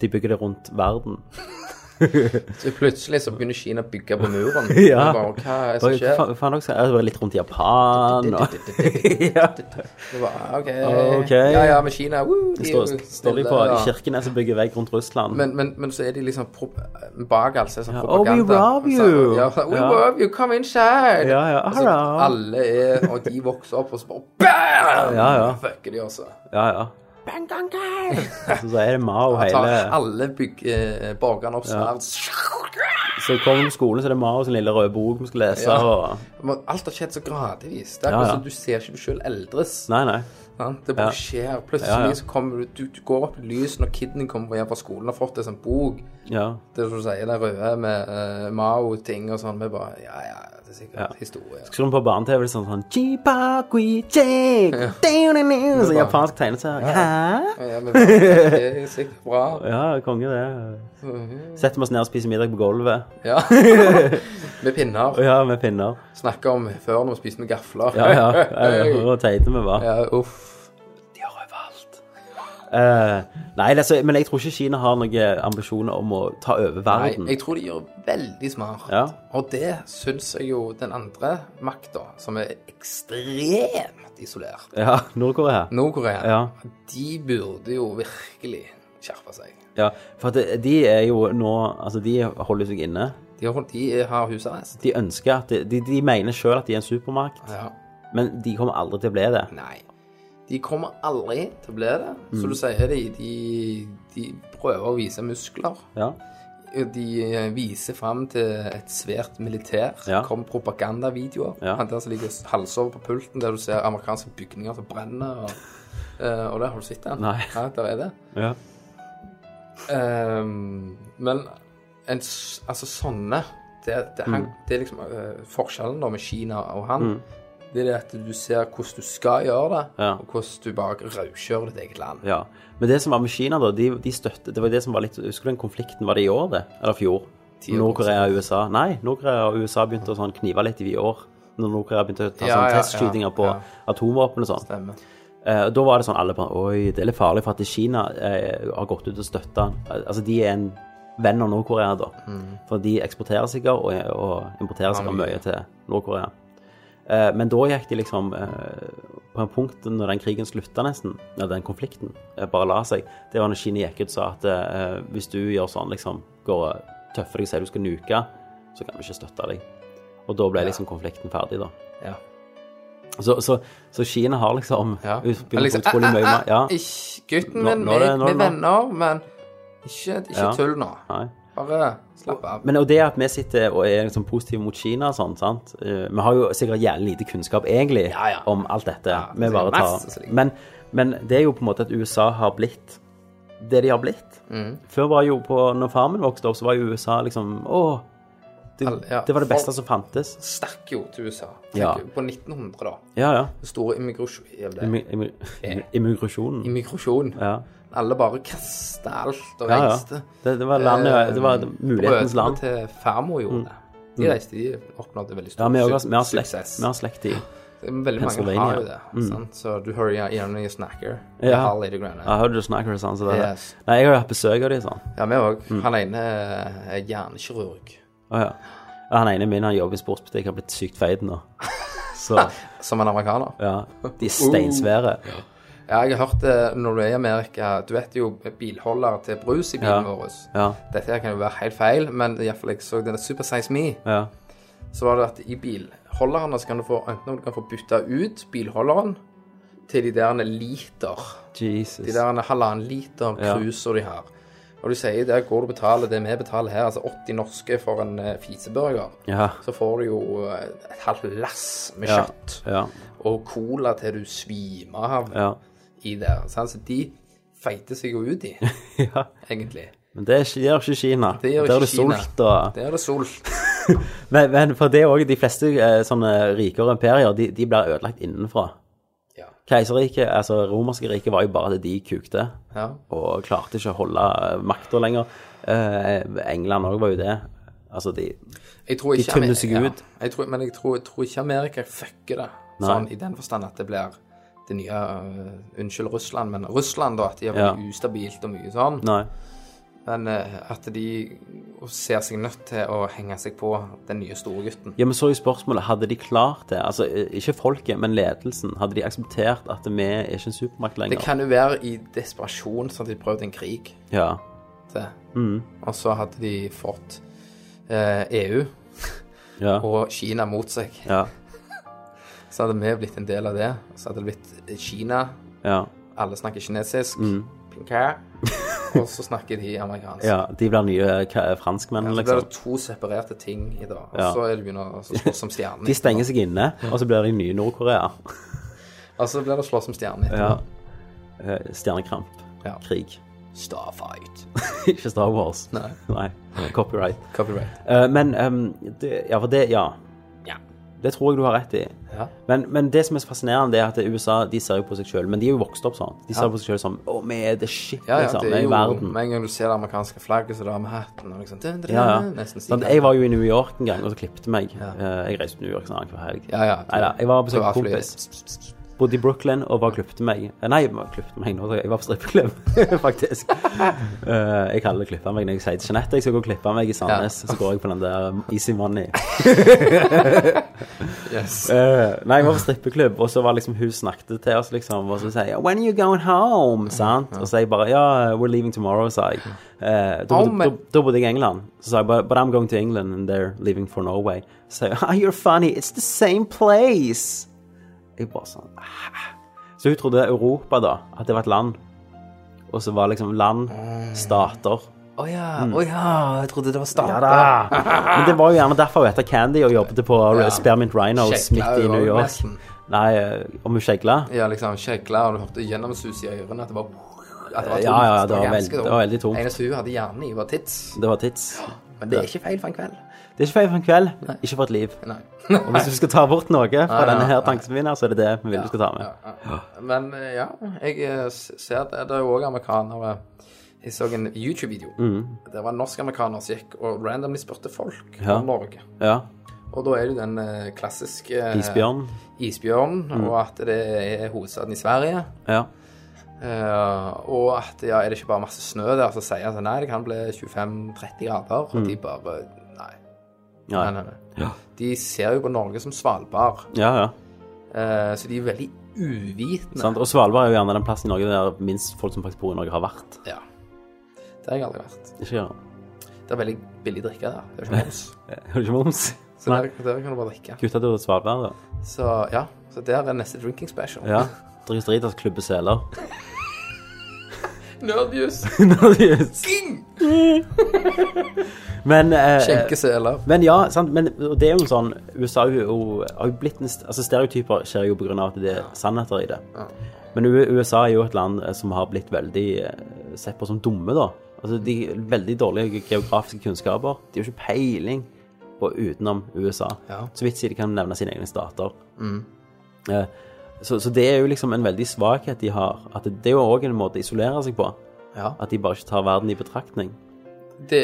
S1: De bygger det rundt verden.
S5: Så plutselig så begynner Kina å bygge på muren.
S1: Ja.
S5: Og Bare, Hva er det
S1: Og
S5: som
S1: hva
S5: skjer?
S1: faen- faen også, jeg har vært litt rundt Japan og ja.
S5: Det var, ok.
S1: Ok.
S5: Ja, ja, men Kina woo, de, er jo
S1: Står, står de på
S5: snille, da.
S1: Kirkenes og bygger vegg rundt Russland?
S5: men, men, men så er de liksom pro bak alt så er det sånn
S1: Oh, we
S5: propaganda.
S1: rob
S5: Så-
S1: you.
S5: Ja, så, we
S1: Ja.
S5: rob you, come inside.
S1: Ja, ja,
S5: Og
S1: hello.
S5: så Altså, alle er, og de vokser opp og så bare BAM!
S1: Ja, ja.
S5: Fucker de altså. også.
S1: ja, ja. Altså,
S5: Bang, gang, gang.
S1: Så, så er det Mao
S5: Tar
S1: hele
S5: alle bygg, eh, borgerne opp sverd.
S1: Så kommer du på skolen, så er det Mao sin lille røde bok vi skal lese,
S5: Ja.
S1: og
S5: Men Alt har skjedd så gradvis. Det er
S1: Ja,
S5: akkurat
S1: ja.
S5: som du ser ikke du sjøl eldres.
S1: Nei, nei.
S5: Sant? Det bare
S1: Ja.
S5: skjer. Plutselig
S1: Ja, ja.
S5: så kommer du, du, du går opp i lys når kiden kommer hjem fra skolen og har fått en sånn bok.
S1: Ja.
S5: Det som du sier, den røde med eh, Mao-ting og sånn. Vi bare Ja, ja, det er sikkert historie.
S1: Skrur den på barne-TV, sånn sånn Jipa, gui, jig, du-du-du, Sånn japansk tegneserie. Hæ?
S5: Ja, men det er sikkert bra.
S1: Ja, konge det. Setter vi oss ned og spiser middag på gulvet.
S5: Ja. med pinner.
S1: Ja, med pinner.
S5: Snakker om før når vi spiste med gafler.
S1: Ja, ja. ja, Og teite vi var.
S5: ja uff.
S1: De har overalt. Eh, nei, altså, men jeg tror ikke Kina har noen eh, ambisjoner om å ta over
S5: Nei,
S1: verden.
S5: jeg tror de gjør veldig smart.
S1: Ja.
S5: Og det syns jeg jo den andre makta, som er ekstremt isolert,
S1: Ja, Nord-Korea.
S5: Mm. Nord-Korea,
S1: Ja.
S5: de burde jo virkelig skjerpe seg.
S1: ja. For at de- de er jo nå Altså, de holder seg inne.
S5: De har, de har husarrest.
S1: De ønsker at De, de, de mener sjøl at de er en supermakt,
S5: Ja.
S1: men de kommer aldri til å bli det.
S5: Nei. De kommer aldri til å bli det.
S1: Mm.
S5: Så du sier de, de, de prøver å vise muskler.
S1: Ja.
S5: De eh, viser fram til et svært militær.
S1: Ja.
S5: Kom propagandavideoer.
S1: Ja.
S5: Han der som ligger halsover på pulten, der du ser amerikanske bygninger som brenner. Og, eh, og der har du sett den?
S1: Nei.
S5: Ja, der er det.
S1: ja.
S5: Ehm, men en, s- altså sånne det, det,
S1: Mm.
S5: han, det er liksom eh, forskjellen da med Kina og han. Det er det at du ser hvordan du skal gjøre det,
S1: Ja.
S5: og hvordan du bare rauskjører ditt eget land.
S1: Ja. Men det som var med Kina, da, de, de støtte, det var det som var litt Husker du den konflikten? Var det i år, det? Eller fjor?
S5: Ti år
S1: Nord-Korea og USA? Nei, Nord-Korea og USA begynte å sånn knive litt i år. Når Nord-Korea begynte å ta
S5: Ja,
S1: sånn
S5: ja,
S1: testskytinger
S5: ja,
S1: på
S5: ja.
S1: atomvåpen og sånn.
S5: Stemmer.
S1: Eh, og da var det sånn alle bare Oi, det er litt farlig, for at Kina eh, har gått ut og støtta Altså, de er en venn av Nord-Korea, da. For de eksporterer sikkert og, og importerer sikkert
S5: mye.
S1: mye til Nord-Korea. Eh, men da gikk de liksom eh, På en punkt når den krigen slutta, nesten, ja, den konflikten, eh, bare la seg, det var når Kina gikk ut og sa at eh, hvis du gjør sånn, liksom, går og tøffer deg og sier du skal nuke så kan vi ikke støtte deg. Og da ble liksom konflikten ferdig, da.
S5: Ja.
S1: Så, så, så Kina har liksom
S5: ja.
S1: utspillet
S5: Liksom,
S1: utrolig
S5: «Ah,
S1: mye
S5: ah,
S1: mer Ja.
S5: ah, Ikke gutten
S1: Nå-
S5: min,
S1: nå er det- nå er
S5: vi
S1: det
S5: er
S1: nå.
S5: venner, men ikke, ikke
S1: Ja.
S5: tull nå.
S1: Nei.
S5: Bare slapp av.
S1: Men og det at vi sitter og er liksom positive mot Kina og sånn, sant Eh, Vi har jo sikkert jævlig lite kunnskap egentlig
S5: Ja, ja.
S1: om alt dette.
S5: Ja,
S1: vi
S5: det er altså.
S1: bare
S5: masse
S1: tar
S5: slik.
S1: men, men det er jo på en måte at USA har blitt det de har blitt.
S5: Mm.
S1: Før var jo på Når faren min vokste opp, så var jo USA liksom Å, det,
S5: Al- ja,
S1: det var det beste
S5: folk-
S1: som fantes.
S5: Stakk jo til USA. Tenk
S1: Ja.
S5: jo På 1900, da.
S1: Ja, ja.
S5: Den store immigrasjonen.
S1: Immi- immi- Immigrasjonen.
S5: Immigrasjon.
S1: Ja.
S5: Alle bare kasta alt og
S1: Ja, ja.
S5: reiste.
S1: Det, det var
S5: Eh,
S1: landet Det var mulighetens land. Mm.
S5: Brødrene til farmor gjorde det. De reiste, de oppnådde veldig
S1: Ja,
S5: stor
S1: vi har,
S5: su-
S1: vi har, slekt,
S5: suksess.
S1: vi har slekt i
S5: Veldig mange
S1: Pennsylvania. Mm.
S5: har jo det. Sant? Så du hører ja- gjerne Snacker.
S1: Ja.
S5: Ja. Harley the Granite.
S1: Jeg hørte du snakke sånn, så det
S5: Yes.
S1: Nei, jeg har jo hatt besøk av de sånn.
S5: Ja, vi òg. Han ene eh, er hjernekirurg.
S1: Å ja. Ja, Han ene min han jobber i sportsbutikk, har blitt sykt feit nå. Så
S5: Som en amerikaner.
S1: ja. De er steinsvære.
S5: Uh. Ja, jeg har hørt det når du er i Amerika. Du vet jo eh, bilholder til brus i
S1: Ja.
S5: bilen vår.
S1: Ja.
S5: Dette her kan jo være helt feil, men iallfall jeg så denne Super Size Me.
S1: Ja.
S5: så var det at i bilholderne så kan du få enten om du kan få bytta ut bilholderen til de der liter,
S1: Jesus.
S5: de der halvannen liter
S1: Ja.
S5: cruiser de har. Og du sier der går du og betaler det vi betaler her, altså 80 norske for en eh, fiseburger,
S1: Ja.
S5: så får du jo eh, et halvt lass med
S1: Ja.
S5: kjøtt
S1: Ja.
S5: og cola til du svimer av
S1: Ja.
S5: i der. Sant? Så de feiter seg jo ut i,
S1: ja.
S5: egentlig.
S1: Men det er ikke- det gjør ikke Kina.
S5: Det gjør
S1: Der er
S5: ikke
S1: det
S5: Kina.
S1: sult og
S5: Der er det solt.
S1: men, men for det er òg de fleste eh, sånne rikere imperier, de, de blir ødelagt innenfra.
S5: Ja.
S1: Keiserriket, altså romerske riket, var jo bare det de kukte.
S5: ja.
S1: og klarte ikke å holde makta lenger. Eh, England òg var jo det. Altså, de
S5: Jeg tror ikke
S1: tømmer seg
S5: Amer-
S1: ut.
S5: Ja, jeg tror, men jeg tror, tror ikke Amerika fucker det.
S1: Nei.
S5: Sånn, I den forstand at det blir det nye øh, Unnskyld Russland, men Russland, da. At de er
S1: Ja.
S5: veldig ustabilt og mye sånn.
S1: Nei.
S5: Men øh, at de ser seg nødt til å henge seg på den nye store gutten.
S1: Ja, men så er jo spørsmålet, hadde de klart det? Altså, eh, ikke folket, men ledelsen. Hadde de akseptert at vi er ikke en supermakt
S5: Det
S1: lenger?
S5: kan jo være i desperasjon sånn at de prøvde en krig
S1: Ja.
S5: til.
S1: Mm.
S5: Og så hadde de fått eh, EU
S1: Ja.
S5: og Kina mot seg.
S1: Ja.
S5: Så hadde vi blitt en del av det. Så hadde det blitt Kina
S1: ja.
S5: Alle snakker kinesisk. Pinkæ. Og så snakker de amerikansk.
S1: Mm. ja. De blir nye ka- franskmenn,
S5: Så blir
S1: liksom.
S5: det to separerte ting i dag. Og
S1: Ja.
S5: så er det begynner å slåss som stjerner.
S1: De stenger seg inne, og så blir de nye Nord-Korea.
S5: Og så blir det slåss som stjerner.
S1: Ja. Eh, Stjernekramp.
S5: Ja.
S1: Krig.
S5: Starfight.
S1: ikke Star Wars.
S5: Nei.
S1: Nei. Copyright.
S5: Copyright.
S1: Eh, men ehm, det, Ja, for det Ja.
S5: Ja.
S1: Det tror jeg du har rett i.
S5: Ja.
S1: Men, men det som er så fascinerende, det er at USA de ser jo på seg sjøl. Men de er jo vokst opp sånn. De ser på seg sjøl som Å, vi er the shit,
S5: Ja, ja,
S1: liksom.
S5: det
S1: Vi
S5: er
S1: er i
S5: jo,
S1: verden.
S5: Med en gang du ser det amerikanske flagget, så er det med hatten og liksom dun, dun,
S1: Ja,
S5: dun,
S1: ja.
S5: Nesten
S1: Sånn,
S5: sikkert.
S1: jeg var jo i New York en gang, og så klippet meg. Eh, Jeg reiste til New York sånn hver helg.
S5: Ja, ja.
S1: Nei da. Jeg var og besøkte en
S5: Privatflyet.
S1: kompis. Bodde i Brooklyn og bare klippet meg. Eh, Nei, bare klippet meg nå. Jeg var på strippeklubb, faktisk. Eh, jeg kaller det klippe meg når jeg sier til Jeanette jeg skal gå og klippe meg i Sandnes. Så går jeg på den der Easy Money.
S5: Yes.
S1: Eh, nei, jeg var på strippeklubb, og så var liksom hun snakket til oss, liksom, og så sier jeg, when are you going home, sant? Og så sier jeg bare, ja, we're leaving tomorrow, sa jeg. Eh, da,
S5: Oh,
S1: bodde,
S5: men-
S1: da, da bodde jeg i England, så sa jeg, but, but I'm going to England, and they're leaving for Norway. Så sier jeg, ah, you're funny, it's the same place. Jeg bare sånn, ah. Så hun trodde Europa da, at det var et land, og så var liksom land, stater.
S5: Å ja.
S1: Mm.
S5: Å ja. Jeg trodde det var starter.
S1: Men det var jo gjerne derfor hun heter Candy og jobbet på Spearmint Rhinos
S5: Kjekla
S1: midt i
S5: over
S1: New York.
S5: messen.
S1: Nei, eh, om hun skjegla?
S5: Ja, liksom kjegla, og du hørte gjennomsus i ørene at det var at det
S1: Ja,
S5: var
S1: ja, ja, det var
S5: ganske
S1: veld- det var veldig
S5: tungt.
S1: tungt.
S5: Eneste hun hadde hjerne i, var tits.
S1: Det var tids.
S5: Men det er ikke feil for en kveld.
S1: Det er ikke feil for en kveld, ikke for et liv.
S5: Nei.
S1: Og hvis du skal ta bort noe fra
S5: nei,
S1: denne her
S5: nei.
S1: tanken min her, så er det det vi vil du skal ta med.
S5: Ja, ja. Men eh, ja, jeg eh, s- ser at det er jo òg amerikanere Jeg så en YouTube-video.
S1: Mm.
S5: Det var en norsk amerikaner som gikk og randomly spurte folk
S1: Ja.
S5: om Norge.
S1: Ja.
S5: Og da er det jo den eh, klassiske eh,
S1: Isbjørn. Mm.
S5: isbjørnen, og at det er hovedstaden i Sverige.
S1: Ja.
S5: Eh, og at ja, er det ikke bare masse snø der, så sier han sånn Nei, det kan bli 25-30 grader. Og de bare Nei.
S1: Ja,
S5: nei,
S1: Mm. ja.
S5: nei, nei. De ser jo på Norge som Svalbard,
S1: ja, ja.
S5: eh, så de er veldig uvitende.
S1: Sant? Og Svalbard er jo gjerne den plassen i Norge der minst folk som faktisk bor i Norge, har vært.
S5: Ja. Det har jeg aldri vært.
S1: Ikke ja.
S5: Det er veldig billig drikke der. Det er jo ikke moms.
S1: Eh, Har du ikke moms?
S5: Så der, der kan du bare drikke.
S1: Gutta til Svalbard, da.
S5: Så ja, så der er neste drinking special.
S1: Ja. Drit drit at klubbe seler.
S5: Nerdjus!
S1: men, eh,
S5: Skjenkeseler.
S1: men ja, sant? Men, og det er jo en sånn USA er jo, har jo blitt en, st- altså Stereotyper skjer jo pga. at det er sannheter i det. Men U- USA er jo et land eh, som har blitt veldig eh, sett på som dumme, da. Altså, de Veldig dårlige ge- geografiske kunnskaper. De har jo ikke peiling på utenom USA.
S5: Ja.
S1: Så vidt de kan nevne sine egne stater. Eh, Så, så det er jo liksom en veldig svakhet de har. At det, det er jo òg en måte å isolere seg på.
S5: Ja.
S1: At de bare ikke tar verden i betraktning.
S5: Det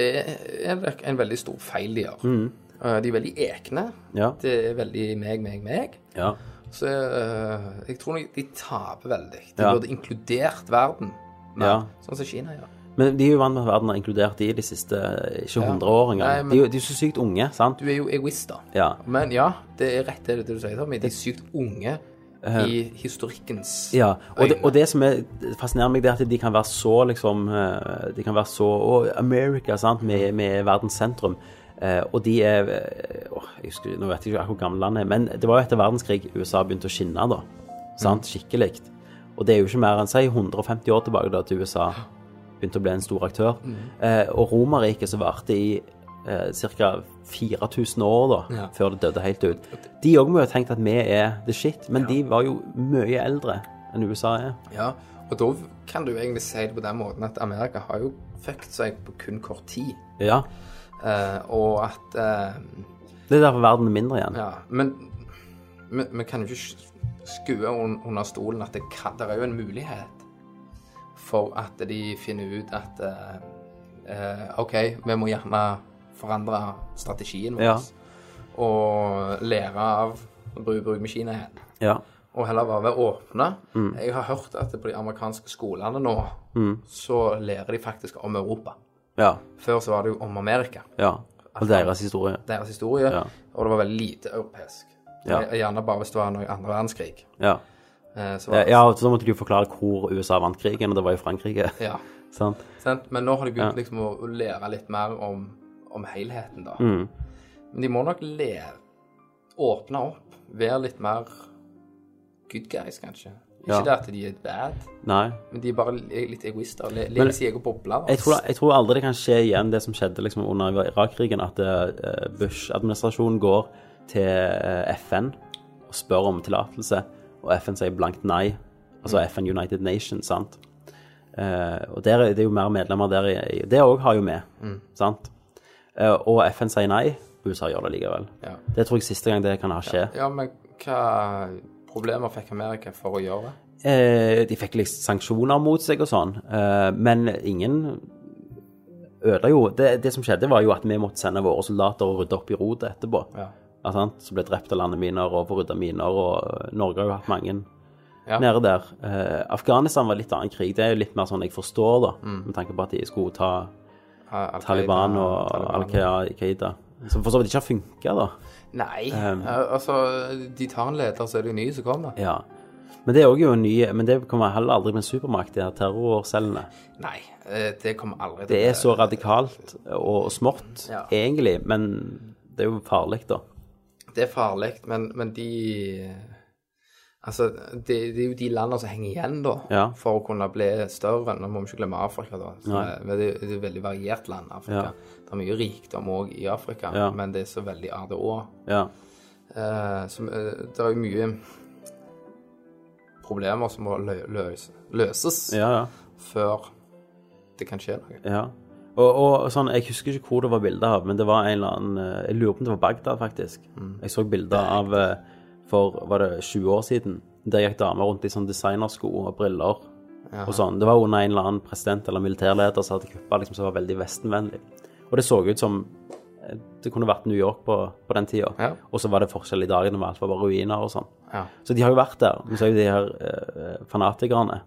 S5: er nok en veldig stor feil de gjør.
S1: Mm.
S5: Eh, De er veldig ekne.
S1: Ja.
S5: Det er veldig meg, meg, meg.
S1: ja.
S5: Så eh, jeg tror nok de taper veldig. De
S1: Ja.
S5: burde inkludert verden. mer,
S1: Ja.
S5: Sånn som Kina gjør.
S1: Men de er jo vant med at verden har inkludert de de siste eh, ikke 100 år
S5: Nei,
S1: engang.
S5: men-
S1: De, er jo- de er jo så sykt unge, sant?
S5: Du er jo egoist, da.
S1: Ja.
S5: Men ja, det er rett det du sier, Tommy. De er sykt unge i historikkens
S1: Eh. ja. Og, det,
S5: øyne.
S1: og det som er, fascinerer meg, det er at de kan være så liksom eh, De kan være så Å, America, sant? Vi vi er verdens sentrum. Eh, og de er eh, åh, jeg husker, Nå vet jeg ikke hvor gammel han er, men det var jo etter verdenskrig USA begynte å skinne, da.
S5: Mm.
S1: Sant? Skikkelig. Og det er jo ikke mer enn si 150 år tilbake da til USA begynte å bli en stor aktør.
S5: Mm.
S1: Eh, og Romerriket som varte i eh, ca. 4000 år da,
S5: Ja.
S1: før det døde helt ut. De òg må jo ha tenkt at vi er the shit, men de var jo mye eldre enn USA er.
S5: Ja, og da kan du egentlig si det på den måten at Amerika har jo fucket seg på kun kort tid.
S1: Ja.
S5: Eh, og at eh,
S1: Det er derfor verden er mindre igjen.
S5: Ja, men men- vi kan jo ikke sk- skue un- under stolen at det, kan, det er jo en mulighet for at de finner ut at eh, eh, OK, vi må gjerne forandre strategien vår
S1: Ja.
S5: og lære av å bruke, bruke Kina igjen.
S1: Ja.
S5: og heller bare være åpne.
S1: Mm.
S5: Jeg har hørt at på de amerikanske skolene nå, så lærer de faktisk om Europa.
S1: Ja.
S5: Før så var det jo om Amerika,
S1: ja. Og deres historie.
S5: deres historie,
S1: Ja.
S5: og det var veldig lite europeisk.
S1: Ja.
S5: Gjer- Gjerne bare hvis det var noe andre verdenskrig.
S1: Ja.
S5: Eh, Så var det,
S1: ja, og så måtte du jo forklare hvor USA vant krigen, og det var jo Frankrike.
S5: ja.
S1: Sant?
S5: Sant? Men nå har de begynt liksom å å lære litt mer om, om helheten, da.
S1: Mm.
S5: Men de må nok lære, åpne opp, være litt mer good guys, kanskje. Ikke
S1: Ja.
S5: det at de er bad,
S1: Nei.
S5: men de er bare li- litt egoister. le- Lever i sin egen boble. da.
S1: Jeg tror, jeg tror aldri det kan skje igjen det som skjedde liksom, under Irak-krigen, at eh, Bush-administrasjonen går til eh, FN og spør om tillatelse, og FN sier blankt nei. Altså FN United Nations, sant? Eh, og der, er- det er jo mer medlemmer der i i- Det òg har jo vi, sant? Eh, og FN sier nei, USA gjør det likevel.
S5: Ja.
S1: Det tror jeg siste gang det kan ha skje.
S5: Ja, men hva problemer fikk Amerika for å gjøre det?
S1: Eh, de fikk liksom sanksjoner mot seg og sånn, eh, men ingen ødela jo det, det som skjedde, var jo at vi måtte sende våre soldater og rydde opp i rotet etterpå.
S5: Ja.
S1: Ja, sant? Som ble drept av landeminer og forrydda miner, og eh, Norge har jo hatt mange
S5: Ja.
S1: nede der. Eh, Afghanistan var litt annen krig. Det er jo litt mer sånn jeg forstår, da,
S5: Mm.
S1: med tanke på at de skulle ta
S5: Al-
S1: Taliban
S5: Al-Qaida-
S1: og
S5: Taliban.
S1: Al Qaida. Som for så vidt ikke har funka, da.
S5: Nei.
S1: Um,
S5: eh, altså, de tar en leder, så er det en ny som kommer.
S1: Ja. Men det er også jo en ny Men det kommer heller aldri med en supermakt, de her terrorcellene.
S5: Nei, eh, det kommer aldri
S1: Det er så radikalt og smått,
S5: Ja.
S1: egentlig, men det er jo farlig, da.
S5: Det er farlig, men, men de Altså, det, det er jo de landene som henger igjen, da,
S1: Ja.
S5: for å kunne bli større. Nå må vi ikke glemme Afrika, da. Så
S1: Nei.
S5: det, det er et veldig variert land, Afrika.
S1: Ja.
S5: Det er mye rikdom òg i Afrika,
S1: Ja.
S5: men det er så veldig ADÅ.
S1: Ja.
S5: Eh, som, eh, det er jo mye problemer som må lø løs løses
S1: ja, ja.
S5: før det kan skje noe.
S1: ja. Og, og sånn, Jeg husker ikke hvor det var bilder av, men det var en eller annen eh, Jeg lurer på om det var Bagdad, faktisk.
S5: Mm.
S1: Jeg så bilder av eh, for var det 20 år siden. Der gikk damer rundt i sånn designersko og briller og sånn. Det var under en eller annen president eller militærleder som hadde kuppa, liksom, som var veldig vestenvennlig. Og det så ut som eh, det kunne vært New York på, på den tida.
S5: Ja.
S1: Og så var det forskjell i dagene, med alt var bare ruiner og sånn.
S5: Ja.
S1: Så de har jo vært der. Men så er jo de her eh, fanatikerne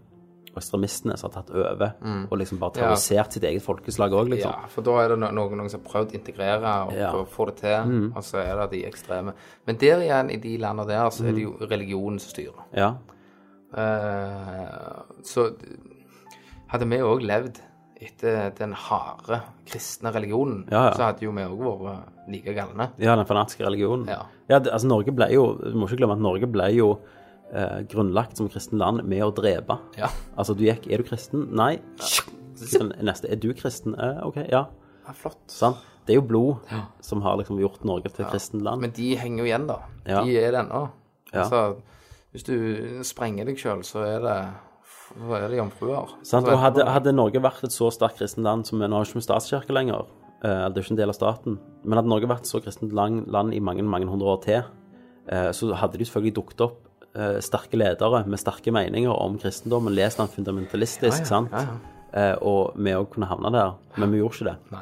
S1: og ekstremistene som har tatt over og liksom bare terrorisert sitt eget folkeslag òg,
S5: Mm. ja,
S1: liksom.
S5: for da er det no noen, noen som har prøvd å integrere og
S1: Ja. Mm.
S5: prøvd å få det til, og så er det de ekstreme. Men der igjen, i de landene der, så er det jo
S1: Mm.
S5: religionen som styrer.
S1: Ja.
S5: Eh, så d- hadde vi òg levd etter den harde kristne religionen,
S1: Ja, ja.
S5: så hadde jo vi òg vært like galne.
S1: Ja, den fanatiske religionen.
S5: Ja.
S1: det, altså Norge ble jo, Du må ikke glemme at Norge ble jo eh, grunnlagt som kristen land med å drepe.
S5: Ja.
S1: Altså, du gikk Er du kristen? Nei. Sånn, neste. Er du kristen? Eh, OK, ja.
S5: ja flott.
S1: Sant? Det er jo blod som har liksom gjort Norge til et kristent land.
S5: Men de henger jo igjen, da.
S1: Ja.
S5: De er det ennå.
S1: Ja.
S5: Altså, hvis du sprenger deg sjøl, så er det så er det jomfruer.
S1: Sant?
S5: Så
S1: Og hadde,
S5: etterpå-
S1: hadde Norge vært et så sterkt kristent land som Nå har vi ikke vi statskirke lenger, eh, det er ikke en del av staten, men hadde Norge vært et så kristent lang, land i mange, mange hundre år til, eh, så hadde de selvfølgelig dukket opp eh, sterke ledere med sterke meninger om kristendommen, lest den fundamentalistisk,
S5: ja,
S1: sant?
S5: ja,
S1: Eh, og vi òg kunne havne der, men vi gjorde ikke det.
S5: Nei.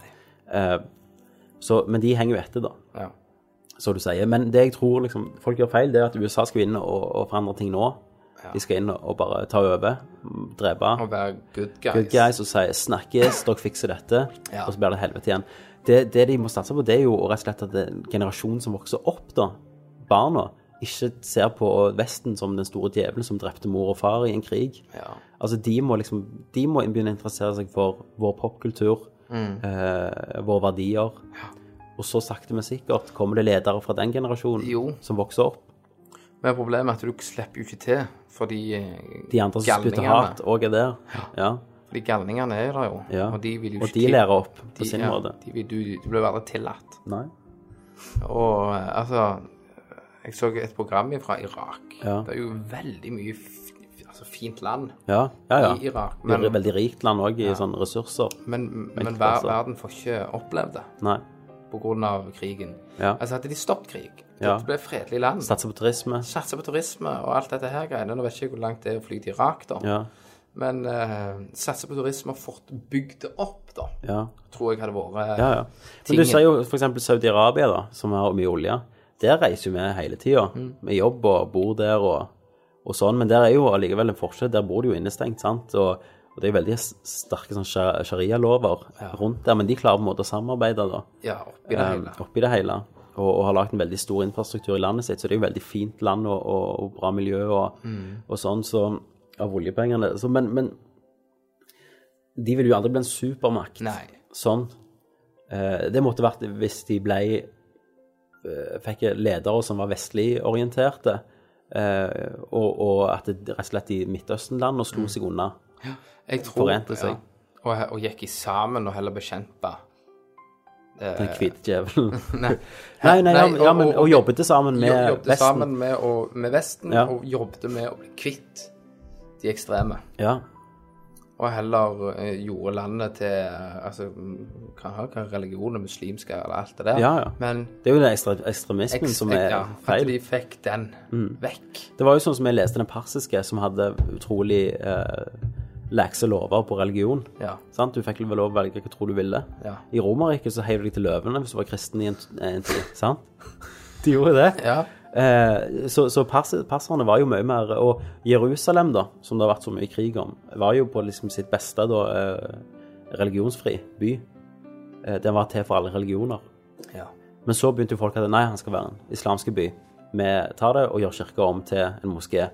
S1: Eh, så, men de henger jo etter, da,
S5: Ja.
S1: så du sier. Men det jeg tror liksom, folk gjør feil, det er at USA skal inn og, og forandre ting nå. De skal inn og bare ta over, drepe.
S5: Å være good guys.
S1: Good guys og sier 'snakkes, dere fikser dette',
S5: Ja.
S1: og så blir det helvete igjen. Det, det de må satse på, det er jo rett og slett at en generasjon som vokser opp, da, barna, ikke ser på Vesten som den store djevelen som drepte mor og far i en krig.
S5: Ja.
S1: Altså, de må liksom De må begynne å interessere seg for vår popkultur,
S5: Mm.
S1: eh, våre verdier. Og så sakte, men sikkert kommer det ledere fra den generasjonen
S5: Jo.
S1: som vokser opp.
S5: Men problemet er at du slipper jo ikke til for de eh,
S1: De andre som spytter hat, òg er der. Ja.
S5: For de galningene er der jo.
S1: ja.
S5: Og de vil jo
S1: og
S5: ikke
S1: de
S5: til-
S1: lærer opp på
S5: de-
S1: sin
S5: ja,
S1: måte.
S5: De, vil- du, du blir bare tillatt.
S1: Nei.
S5: Og eh, altså Jeg så et program fra Irak.
S1: Ja.
S5: Det er jo veldig mye f altså, fint land.
S1: Ja, ja, ja.
S5: i Irak,
S1: Men, det
S5: men-
S1: er et veldig rikt land òg i sånne ressurser.
S5: Men, men
S1: Mektig,
S5: ver
S1: altså.
S5: verden får ikke opplevd det
S1: Nei.
S5: pga. krigen.
S1: Ja.
S5: Altså hadde de stoppet krig,
S1: Ja.
S5: det ble et fredelig land,
S1: Satser på turisme.
S5: satser på turisme og alt dette her greiene Nå vet jeg ikke hvor langt det er å fly til Irak, da,
S1: Ja,
S5: men uh, satser på turisme og fått bygd det opp, da,
S1: ja,
S5: tror jeg hadde vært
S1: ja. ja. Men du
S5: Tingen-
S1: ser jo f.eks. Saudi-Arabia, da, som har mye olje. Der reiser jo vi hele tida.
S5: Mm.
S1: Med jobb og bor der og, og sånn. Men der er jo allikevel en forskjell. Der bor de jo innestengt, sant. Og, og det er jo veldig s- sterke sånn sha- sharia-lover rundt der. Men de klarer på en måte å samarbeide, da.
S5: ja, oppi det
S1: eh,
S5: hele.
S1: oppi det hele. Og, og har lagt en veldig stor infrastruktur i landet sitt, så det er jo veldig fint land og, og, og bra miljø og,
S5: Mm.
S1: og sånn, så av oljepengene. Så, men, men de vil jo aldri bli en supermakt.
S5: Nei.
S1: Sånn. Eh, det måtte vært hvis de ble eh, Fikk ledere som var vestlig orienterte, eh, og, og at det rett og slett i Midtøsten-land og slo
S5: Mm.
S1: seg unna.
S5: Jeg tror
S1: forente seg.
S5: Ja, og, og gikk i sammen og heller bekjempa.
S1: Den hvite djevelen.
S5: Eh, Nei.
S1: Nei, nei, ja,
S5: Nei,
S1: ja, men,
S5: og- og-
S1: og jobbet sammen Sånn med
S5: jobbet
S1: Vesten.
S5: sammen med, å- med Vesten
S1: Ja.
S5: og jobbet med å bli kvitt de ekstreme.
S1: Ja,
S5: Og heller eh, gjorde landet til eh, altså, mm, kan ha hva religion er muslimsk eller alt det der,
S1: Ja, ja.
S5: men
S1: Det er jo den ekstra, ekstremismen
S5: eks-
S1: som er
S5: ja, at
S1: feil. Mm.
S5: de fikk den vekk.
S1: Det var jo sånn som jeg leste den persiske, som hadde utrolig eh, lekse lover på religion.
S5: Ja.
S1: Sant? Du fikk vel lov å velge hva tro du ville.
S5: Ja.
S1: I Romerriket så heiv du deg til løvene hvis du var kristen i en, en tid. Sant? De gjorde det.
S5: Ja.
S1: Eh, så så pers perserne var jo mye mer Og Jerusalem, da, som det har vært så mye krig om, var jo på liksom sitt beste da eh, religionsfri by. Eh, den var til for alle religioner.
S5: ja.
S1: Men så begynte jo folk at nei, han skal være en islamske by. Vi tar det og gjør kirka om til en moské.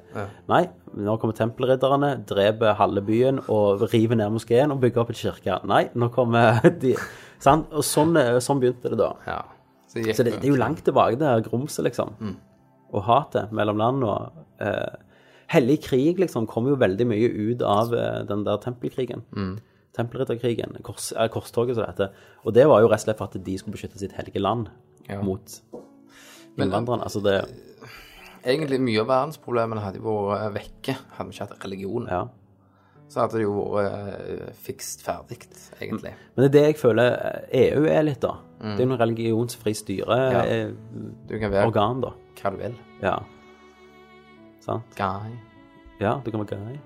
S1: Nei, nå kommer tempelridderne, dreper halve byen og river ned moskeen og bygger opp en kirke. Nei, nå kommer de Sant? Og sånn, sånn begynte det da.
S5: ja. Så, gikk,
S1: Så det, det er jo langt tilbake, det her grumset, liksom. Og hatet mellom land og eh, Hellig krig, liksom, kom jo veldig mye ut av eh, den der tempelkrigen. Tempelridderkrigen, kors, eh, korstoget som det heter. Og det var jo rett og slett for at de skulle beskytte sitt hellige land
S5: Ja.
S1: mot innvandrerne. Altså det
S5: Egentlig mye av verdensproblemene hadde jo vært vekke, hadde vi ikke hatt religion.
S1: Ja.
S5: Så hadde det jo vært eh, fikst ferdig, egentlig.
S1: Men det er det jeg føler eh, EU er litt, da. Det er jo noe religionsfri styre
S5: Mm. Ja.
S1: eh,
S5: Du kan være
S1: organ, da.
S5: hva du vil.
S1: Ja. Sant?
S5: Guy.
S1: Ja, du kan være grei.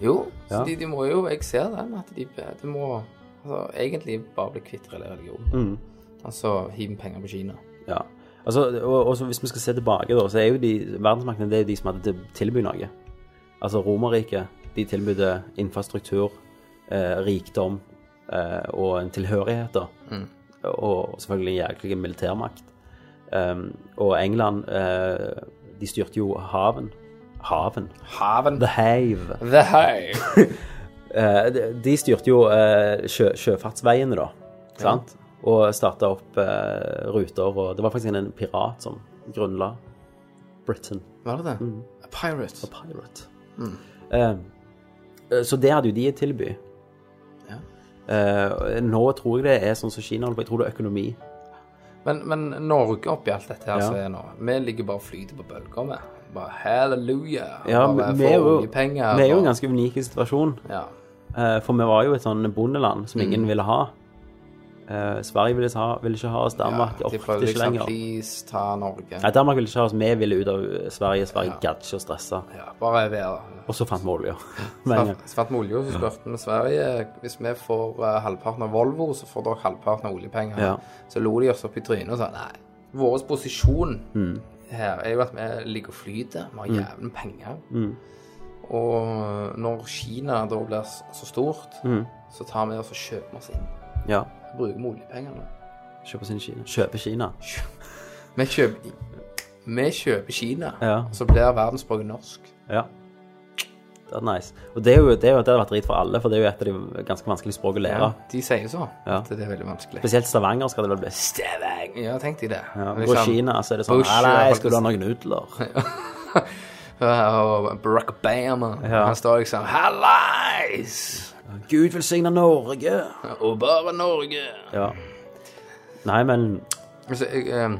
S5: Jo,
S1: Ja.
S5: så de, de må jo Jeg ser den, at de, de må altså, egentlig bare bli kvitt religionen.
S1: Mm.
S5: Altså hive penger på Kina.
S1: Ja. Altså, og, og så hvis vi skal se tilbake, da, så er jo de verdensmaktene det er jo de som hadde til- tilbudt noe. Altså Romerriket, de tilbød infrastruktur, eh, rikdom eh, og en tilhørighet, da. Og selvfølgelig en jæklig militærmakt. Um, og England, eh, de styrte jo haven. Haven.
S5: Haven.
S1: The Have.
S5: The Hive.
S1: eh, de- de styrte jo eh, sjø, sjøfartsveiene, da. Sant? Og starta opp eh, ruter, og det var faktisk en pirat som grunnla Britain.
S5: Var det det?
S1: Mm.
S5: A pirate.
S1: Pirate.
S5: Mm.
S1: Eh, så det hadde jo de et tilby.
S5: Ja.
S1: Eh, nå tror jeg det er sånn som Kina holder på, jeg tror det er økonomi.
S5: Men, men Norge oppi alt dette her
S1: Ja.
S5: som er nå, vi ligger bare og flyter på bølger med. Bare halleluja.
S1: Ja,
S5: bare
S1: vi, er
S5: får
S1: jo,
S5: oljepenger,
S1: vi er jo
S5: og-
S1: en ganske unik situasjon.
S5: Ja.
S1: Eh, For vi var jo et sånn bondeland som
S5: Mm.
S1: ingen ville ha. Eh, Sverige ville, ha, ville ikke ha oss, Danmark
S5: de
S1: orket
S5: prøvde
S1: ikke
S5: liksom
S1: lenger.
S5: please ta Norge.
S1: Nei, Danmark ville ikke ha oss, vi ville ut av Sverige. Sverige gadd ikke å stresse.
S5: Ja, bare være
S1: Og så fant vi olja. med en gang.
S5: Svart med olje, og så spurte vi Sverige hvis vi får eh, halvparten av Volvo, så får dere halvparten av oljepengene.
S1: Ja.
S5: Så lo de oss opp i trynet og sa nei. Vår posisjon
S1: Mm.
S5: her er jo at vi ligger og flyter, vi har jævlig med penger.
S1: Mm.
S5: Og når Kina da blir s- så stort,
S1: Mm.
S5: så tar vi oss og kjøper oss inn.
S1: Ja.
S5: Bruker vi oljepengene.
S1: Kjøpe oss inn i Kina. Kjøpe Kina.
S5: Vi kjøper, vi kjøper Kina,
S1: Ja.
S5: og så blir verdensspråket norsk.
S1: Ja. Det er nice. Og det er jo, det er jo det hadde vært drit for alle, for det er jo et av de ganske vanskelige språk å lære.
S5: De sier så.
S1: Ja.
S5: at Det er veldig vanskelig.
S1: Spesielt stavanger skal det vel bli Stavanger.
S5: Ja, tenk deg det.
S1: Ja,
S5: Liksom-
S1: og Kina så er det sånn
S5: Bush,
S1: Nei, nei,
S5: ja,
S1: skulle du ha noen nudler?
S5: Ja, Eh, og Barack Obama.
S1: Ja.
S5: Han står liksom Hallais!
S1: Gud velsigne Norge!
S5: Og bare Norge!
S1: Ja. Nei, men
S5: Altså, jeg, eh,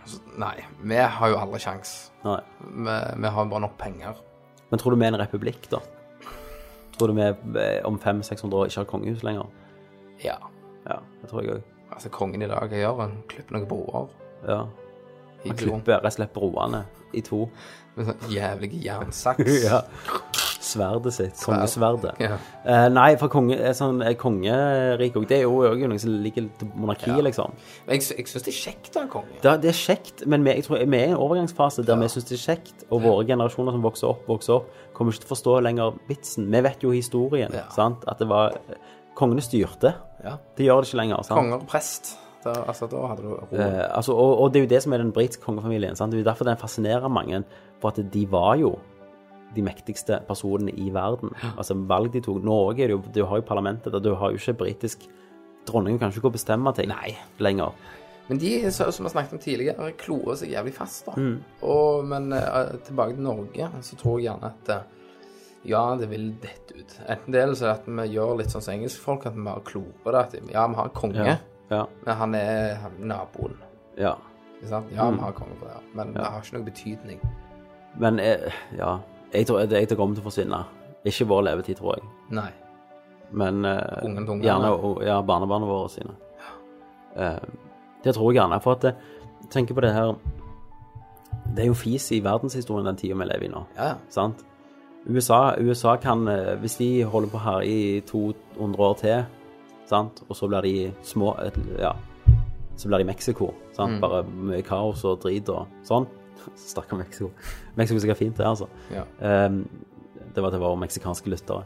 S5: altså, nei, vi har jo aldri sjans.
S1: Nei.
S5: Vi, vi har bare nok penger.
S1: Men tror du vi er en republikk, da? Tror du vi eh, om 500-600 år ikke har kongehus lenger?
S5: Ja.
S1: Ja, det tror jeg òg.
S5: Altså, kongen i dag jeg gjør han klipper noen broer.
S1: Ja.
S5: i
S1: Man
S5: fjorden.
S1: klipper rett og slett broene i to.
S5: Med sånn jævlig jernsaks.
S1: Ja. Sverdet sitt. Kongesverdet.
S5: Ja.
S1: Eh, nei, for konge, eh, sånn, eh, kongerik òg. Det er jo òg noe som ligger til monarkiet, liksom.
S5: Men Jeg, sy- jeg syns det er kjekt å ha en konge.
S1: Det, det er kjekt, men vi, jeg tror, vi er i en overgangsfase der vi syns det er kjekt, og våre generasjoner som vokser opp, vokser opp, kommer ikke til å forstå lenger vitsen. Vi vet jo historien,
S5: Ja.
S1: sant? At det var eh, Kongene styrte.
S5: Ja.
S1: Det gjør det ikke lenger. sant?
S5: Konger og prest. Da, altså, da hadde du ro.
S1: Eh, altså, og, og det er jo det som er den britiske kongefamilien. Sant? Det er jo derfor den fascinerer mange, for at de var jo de mektigste personene i verden. Altså valg de tok. Norge er det jo, du har jo parlamentet der, du har jo ikke britisk Dronningen kan ikke gå og bestemme ting lenger.
S5: Men de, er så- som vi snakket om tidligere, klorer seg jævlig fast. da.
S1: Mm.
S5: Og, men eh, tilbake til Norge, så tror jeg gjerne at eh, ja, det vil dette ut. Enten det er så at vi gjør litt sånn som engelskfolk, at vi bare klorer det. At ja, vi har en konge,
S1: Ja. Ja.
S5: men han er han- naboen.
S1: ja.
S5: Ikke sant? Ja,
S1: Mm.
S5: vi har konge på det, ja, men det har ikke noe betydning.
S1: Men eh, ja Jeg tror det jeg tror kommer til å forsvinne. Ikke vår levetid, tror jeg.
S5: Nei.
S1: Men eh,
S5: Ungen til ungene.
S1: gjerne og- ja, barnebarna våre sine. Eh, det tror jeg gjerne. For at jeg tenker på det her Det er jo fis i verdenshistorien den tida vi lever i nå.
S5: Ja, ja.
S1: Sant? USA, USA kan eh, Hvis de holder på her i 200 år til, sant? og så blir de små et- Ja. Så blir de Mexico. Sant? Bare mye kaos og drit og sånn. Stakkar Mexico. Mexico skal fint, det, altså.
S5: ja.
S1: Ehm, det var til våre meksikanske lyttere.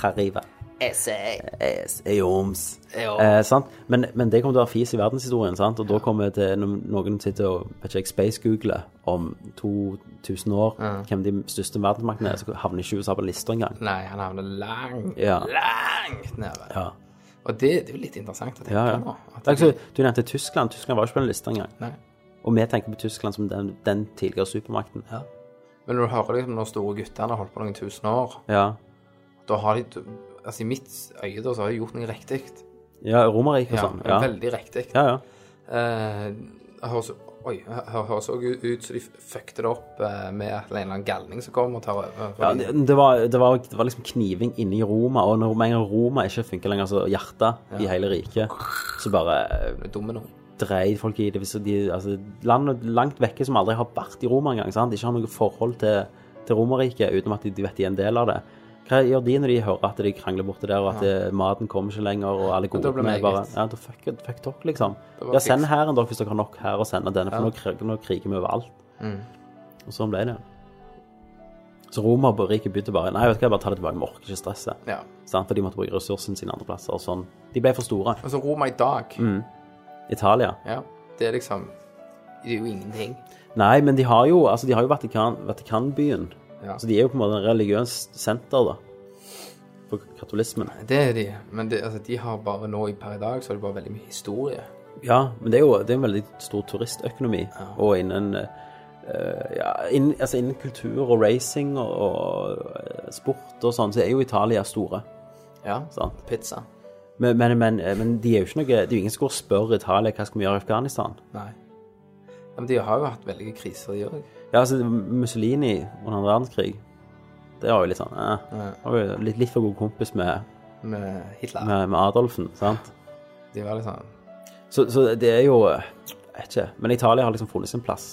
S1: Jarive. Es- Eoms. Eh, sant? Men, men det kommer til å være fis i verdenshistorien. Sant? Og da kommer det til no- noen sitter og vet ikke jeg, space-googler om 2000 år hvem de største verdensmaktene er, så havner ikke USA på lista engang.
S5: Nei, han havner langt,
S1: Ja.
S5: langt nede.
S1: Ja.
S5: Og det, det er jo litt interessant å tenke
S1: Ja, ja.
S5: på nå.
S1: Det er ikke så- Du nevnte Tyskland. Tyskland var ikke på den lista engang.
S5: Nei.
S1: Og vi tenker på Tyskland som den, den tidligere supermakten. Ja.
S5: Men når du hører liksom når store guttene har holdt på noen tusen år
S1: Ja,
S5: Da har de Altså, i mitt øye da, så har de gjort noe riktig.
S1: Romerriket og
S5: Ja,
S1: sånn. Ja.
S5: Veldig riktig.
S1: Ja, ja.
S5: Eh, det høres, oi, det høres også ut ut som de fucket det opp eh, med at det er en eller annen galning som kommer og tar over.
S1: Ja,
S5: fordi-
S1: det, det, var, det, var, det var liksom kniving inne i Roma, og når med en gang Roma ikke funker lenger, altså hjertet i hele riket, så bare eh,
S5: det er dumme nå.
S1: dreide folk i det. Hvis de, altså, land langt vekke som aldri har vært i Roma engang, sant? ikke har noe forhold til, til Romerriket, utenom at de, de vet de er en del av det. Hva gjør de når de hører at de krangler borte der, og at eh, maten kommer ikke lenger, og alle
S5: da blir
S1: godene
S5: det
S1: er bare
S5: eget.
S1: Ja, da fuck, it, fuck dere, liksom.
S5: Da var
S1: Ja, send
S5: fiks.
S1: hæren dere hvis dere har nok her, og send denne, for nå, krig, nå kriger vi overalt.
S5: Mm.
S1: Og sånn ble det. Så Romerriket begynte bare Nei, vet du hva, bare ta det tilbake, vi orker ikke stresset.
S5: Ja.
S1: Sant? For de måtte bruke ressursene sine andre plasser og sånn. De ble for store.
S5: Og så Roma Altså, i dag.
S1: Mm. Italia
S5: Ja, det er liksom Det er jo ingenting.
S1: Nei, men de har jo, altså, de har jo Vatikan, Vatikanbyen.
S5: Ja.
S1: Så de er jo på en måte en religiøst senter, da. på katolismen.
S5: Det er de, men det, altså, de har bare nå i per i dag så har de bare veldig mye historie.
S1: Ja, men det er jo det er en veldig stor turistøkonomi. Og innen eh, ja, innen, altså innen kultur og racing og, og eh, sport og sånn, så er jo Italia store.
S5: Ja,
S1: Sant?
S5: pizza.
S1: Men, men, men, eh, men de er jo ikke noe, det er jo ingen som går og spør Italia hva skal vi gjøre i Afghanistan.
S5: Nei. Ja, men de har jo hatt veldige kriser, de òg.
S1: Ja, altså Mussolini under andre verdenskrig, det var jo litt sånn eh, var jo litt, litt for god kompis med,
S5: Med Hitler.
S1: med, med Adolfen, sant?
S5: De var litt sånn
S1: Så, så det er jo eh, Jeg vet ikke. Men Italia har liksom funnet sin plass.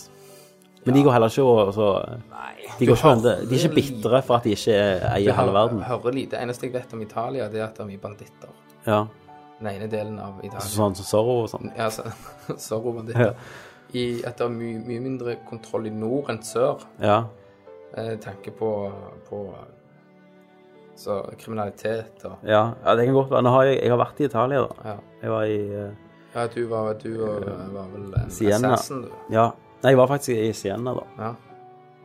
S1: Men de går heller ikke og så De, går
S5: Du
S1: ikke
S5: har
S1: og endrer- de er ikke
S5: veldig-
S1: bitre for at de ikke eier halve verden.
S5: Hører lite. Det eneste jeg vet om Italia, det er at det er mye banditter.
S1: Ja.
S5: Den ene delen av Italia.
S1: Sånn som Zorro og sånn.
S5: Ja, altså, sorry, banditter. I, at det er mye, mye mindre kontroll i nord enn sør.
S1: Ja.
S5: Eh, tanke på, på så, kriminalitet og
S1: ja. Ja, det kan godt være. Nå har jeg, jeg har vært i Italia, da.
S5: Ja,
S1: Jeg var i eh,
S5: ja du var, du var, var vel en
S1: Siena.
S5: assassin, du.
S1: Eh, Ja. Nei, jeg var faktisk i Siena, da.
S5: Ja.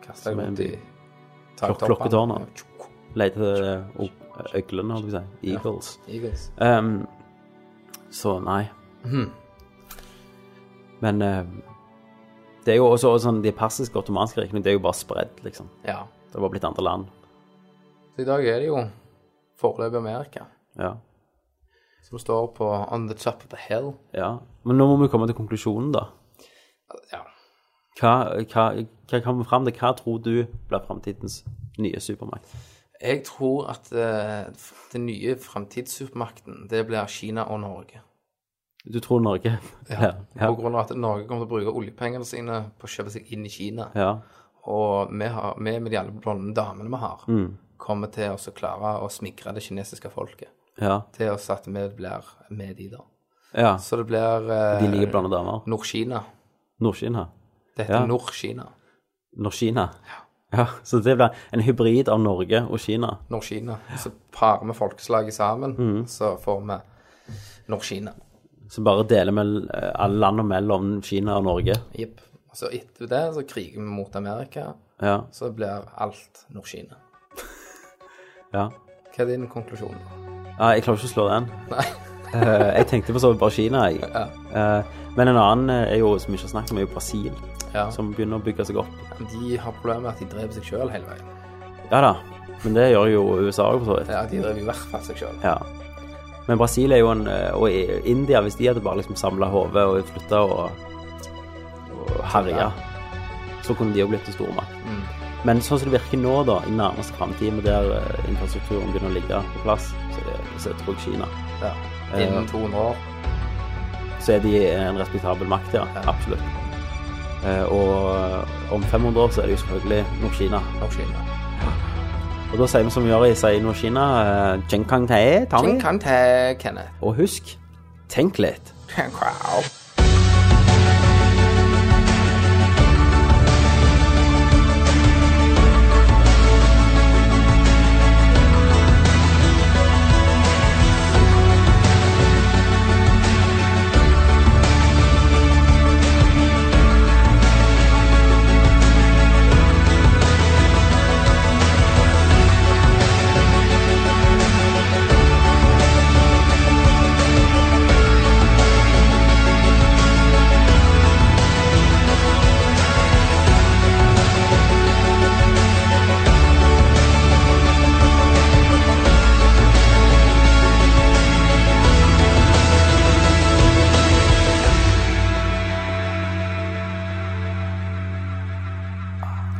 S5: Kasta
S1: Som er
S5: deg
S1: en
S5: rundt i
S1: by.
S5: taktoppene.
S1: klokketårner.
S5: Ja.
S1: Leide eh, opp øglene, holdt jeg på å si. Eagles.
S5: Eagles.
S1: Ehm, så nei. Men eh, det er jo også, også sånn, de persiske og ottomanske rikene det er jo bare spredd, liksom.
S5: Ja.
S1: Det har bare blitt andre land.
S5: Så i dag er det jo foreløpig Amerika
S1: Ja.
S5: som står på on the top of the hill.
S1: ja. Men nå må vi komme til konklusjonen, da.
S5: Ja.
S1: Hva, hva, hva kan vi fram til? Hva tror du blir framtidens nye supermakt?
S5: Jeg tror at eh, den nye framtidssupermakten, det blir Kina og Norge.
S1: Du tror Norge? Ja. Ja.
S5: På grunn av at Norge kommer til å bruke oljepengene sine på å kjøpe seg inn i Kina.
S1: ja.
S5: Og vi, har, vi med de alle blonde damene vi har,
S1: Mm.
S5: kommer til å så klare å smigre det kinesiske folket.
S1: ja.
S5: Til oss at vi blir med de, da.
S1: ja.
S5: Så det blir eh,
S1: De liker blonde damer.
S5: Nord-Kina.
S1: Nord-Kina.
S5: Det heter
S1: Ja.
S5: Nord-Kina.
S1: Nord-Kina. Ja. Så det blir en hybrid av Norge og Kina.
S5: Nord-Kina. Så parer vi folkeslaget sammen,
S1: Mm.
S5: så får vi Nord-Kina.
S1: Så bare deler vi eh, alle landene mellom Kina og Norge.
S5: Jepp. Og så etter det så kriger vi mot Amerika,
S1: Ja,
S5: så blir alt Nord-Kina.
S1: ja.
S5: Hva er din konklusjon?
S1: ja jeg klarer ikke å slå den.
S5: Nei.
S1: Eh, jeg tenkte på så vidt bare Kina, jeg.
S5: Ja.
S1: Eh, men en annen eh, er jo, som vi ikke har snakket om, er jo Brasil,
S5: Ja.
S1: som begynner å bygge seg opp.
S5: De har problemer med at de dreper seg sjøl hele veien.
S1: Ja da, men det gjør jo USA òg, for så vidt.
S5: Ja, de dreper i hvert fall seg sjøl.
S1: Ja. Men Brasil er jo en eh, Og i- India, hvis de hadde bare liksom samla hodet og slutta å å herje, så kunne de jo blitt en stormakt. Men sånn som det virker nå, da, i nærmeste framtid, med der eh, infrastrukturen begynner å ligge på plass, så, er- så tror jeg Kina
S5: Ja. Innen 200 år.
S1: så er de en respektabel makt, ja. Absolutt. Eh, Og om 500 år så er det jo selvfølgelig Nord-Kina.
S5: Nord-Kina.
S1: Og da sier vi som vi gjør i sier Nord-Kina, eh, Jeng Kang Tae, ta
S5: Ting
S1: med.
S5: kan til, Kenneth.
S1: Og husk, tenk litt.
S5: Wow.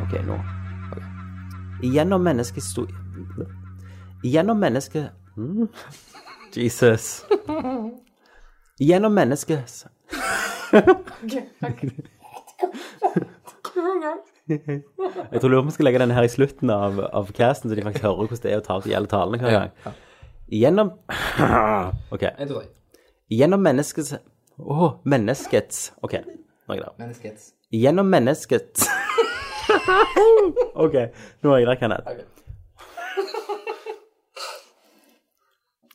S1: Ok, nå. Gjennom menneskets sto... Gjennom mennesket... Mm. Jesus. Gjennom menneskets... Jeg tror lurer på om vi skal legge denne her i slutten av, av casten, så de faktisk hører hvordan det er å ta opp de alle talene hver gang. Gjennom... Ok.
S5: En, to, tre.
S1: Gjennom menneskets... Åh, menneskets... Ok, nå er jeg der.
S5: Menneskets.
S1: Gjennom mennesket OK, nå er jeg der, Kenneth.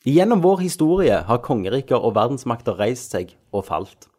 S1: Gjennom vår historie har kongeriker og verdensmakter reist seg og falt.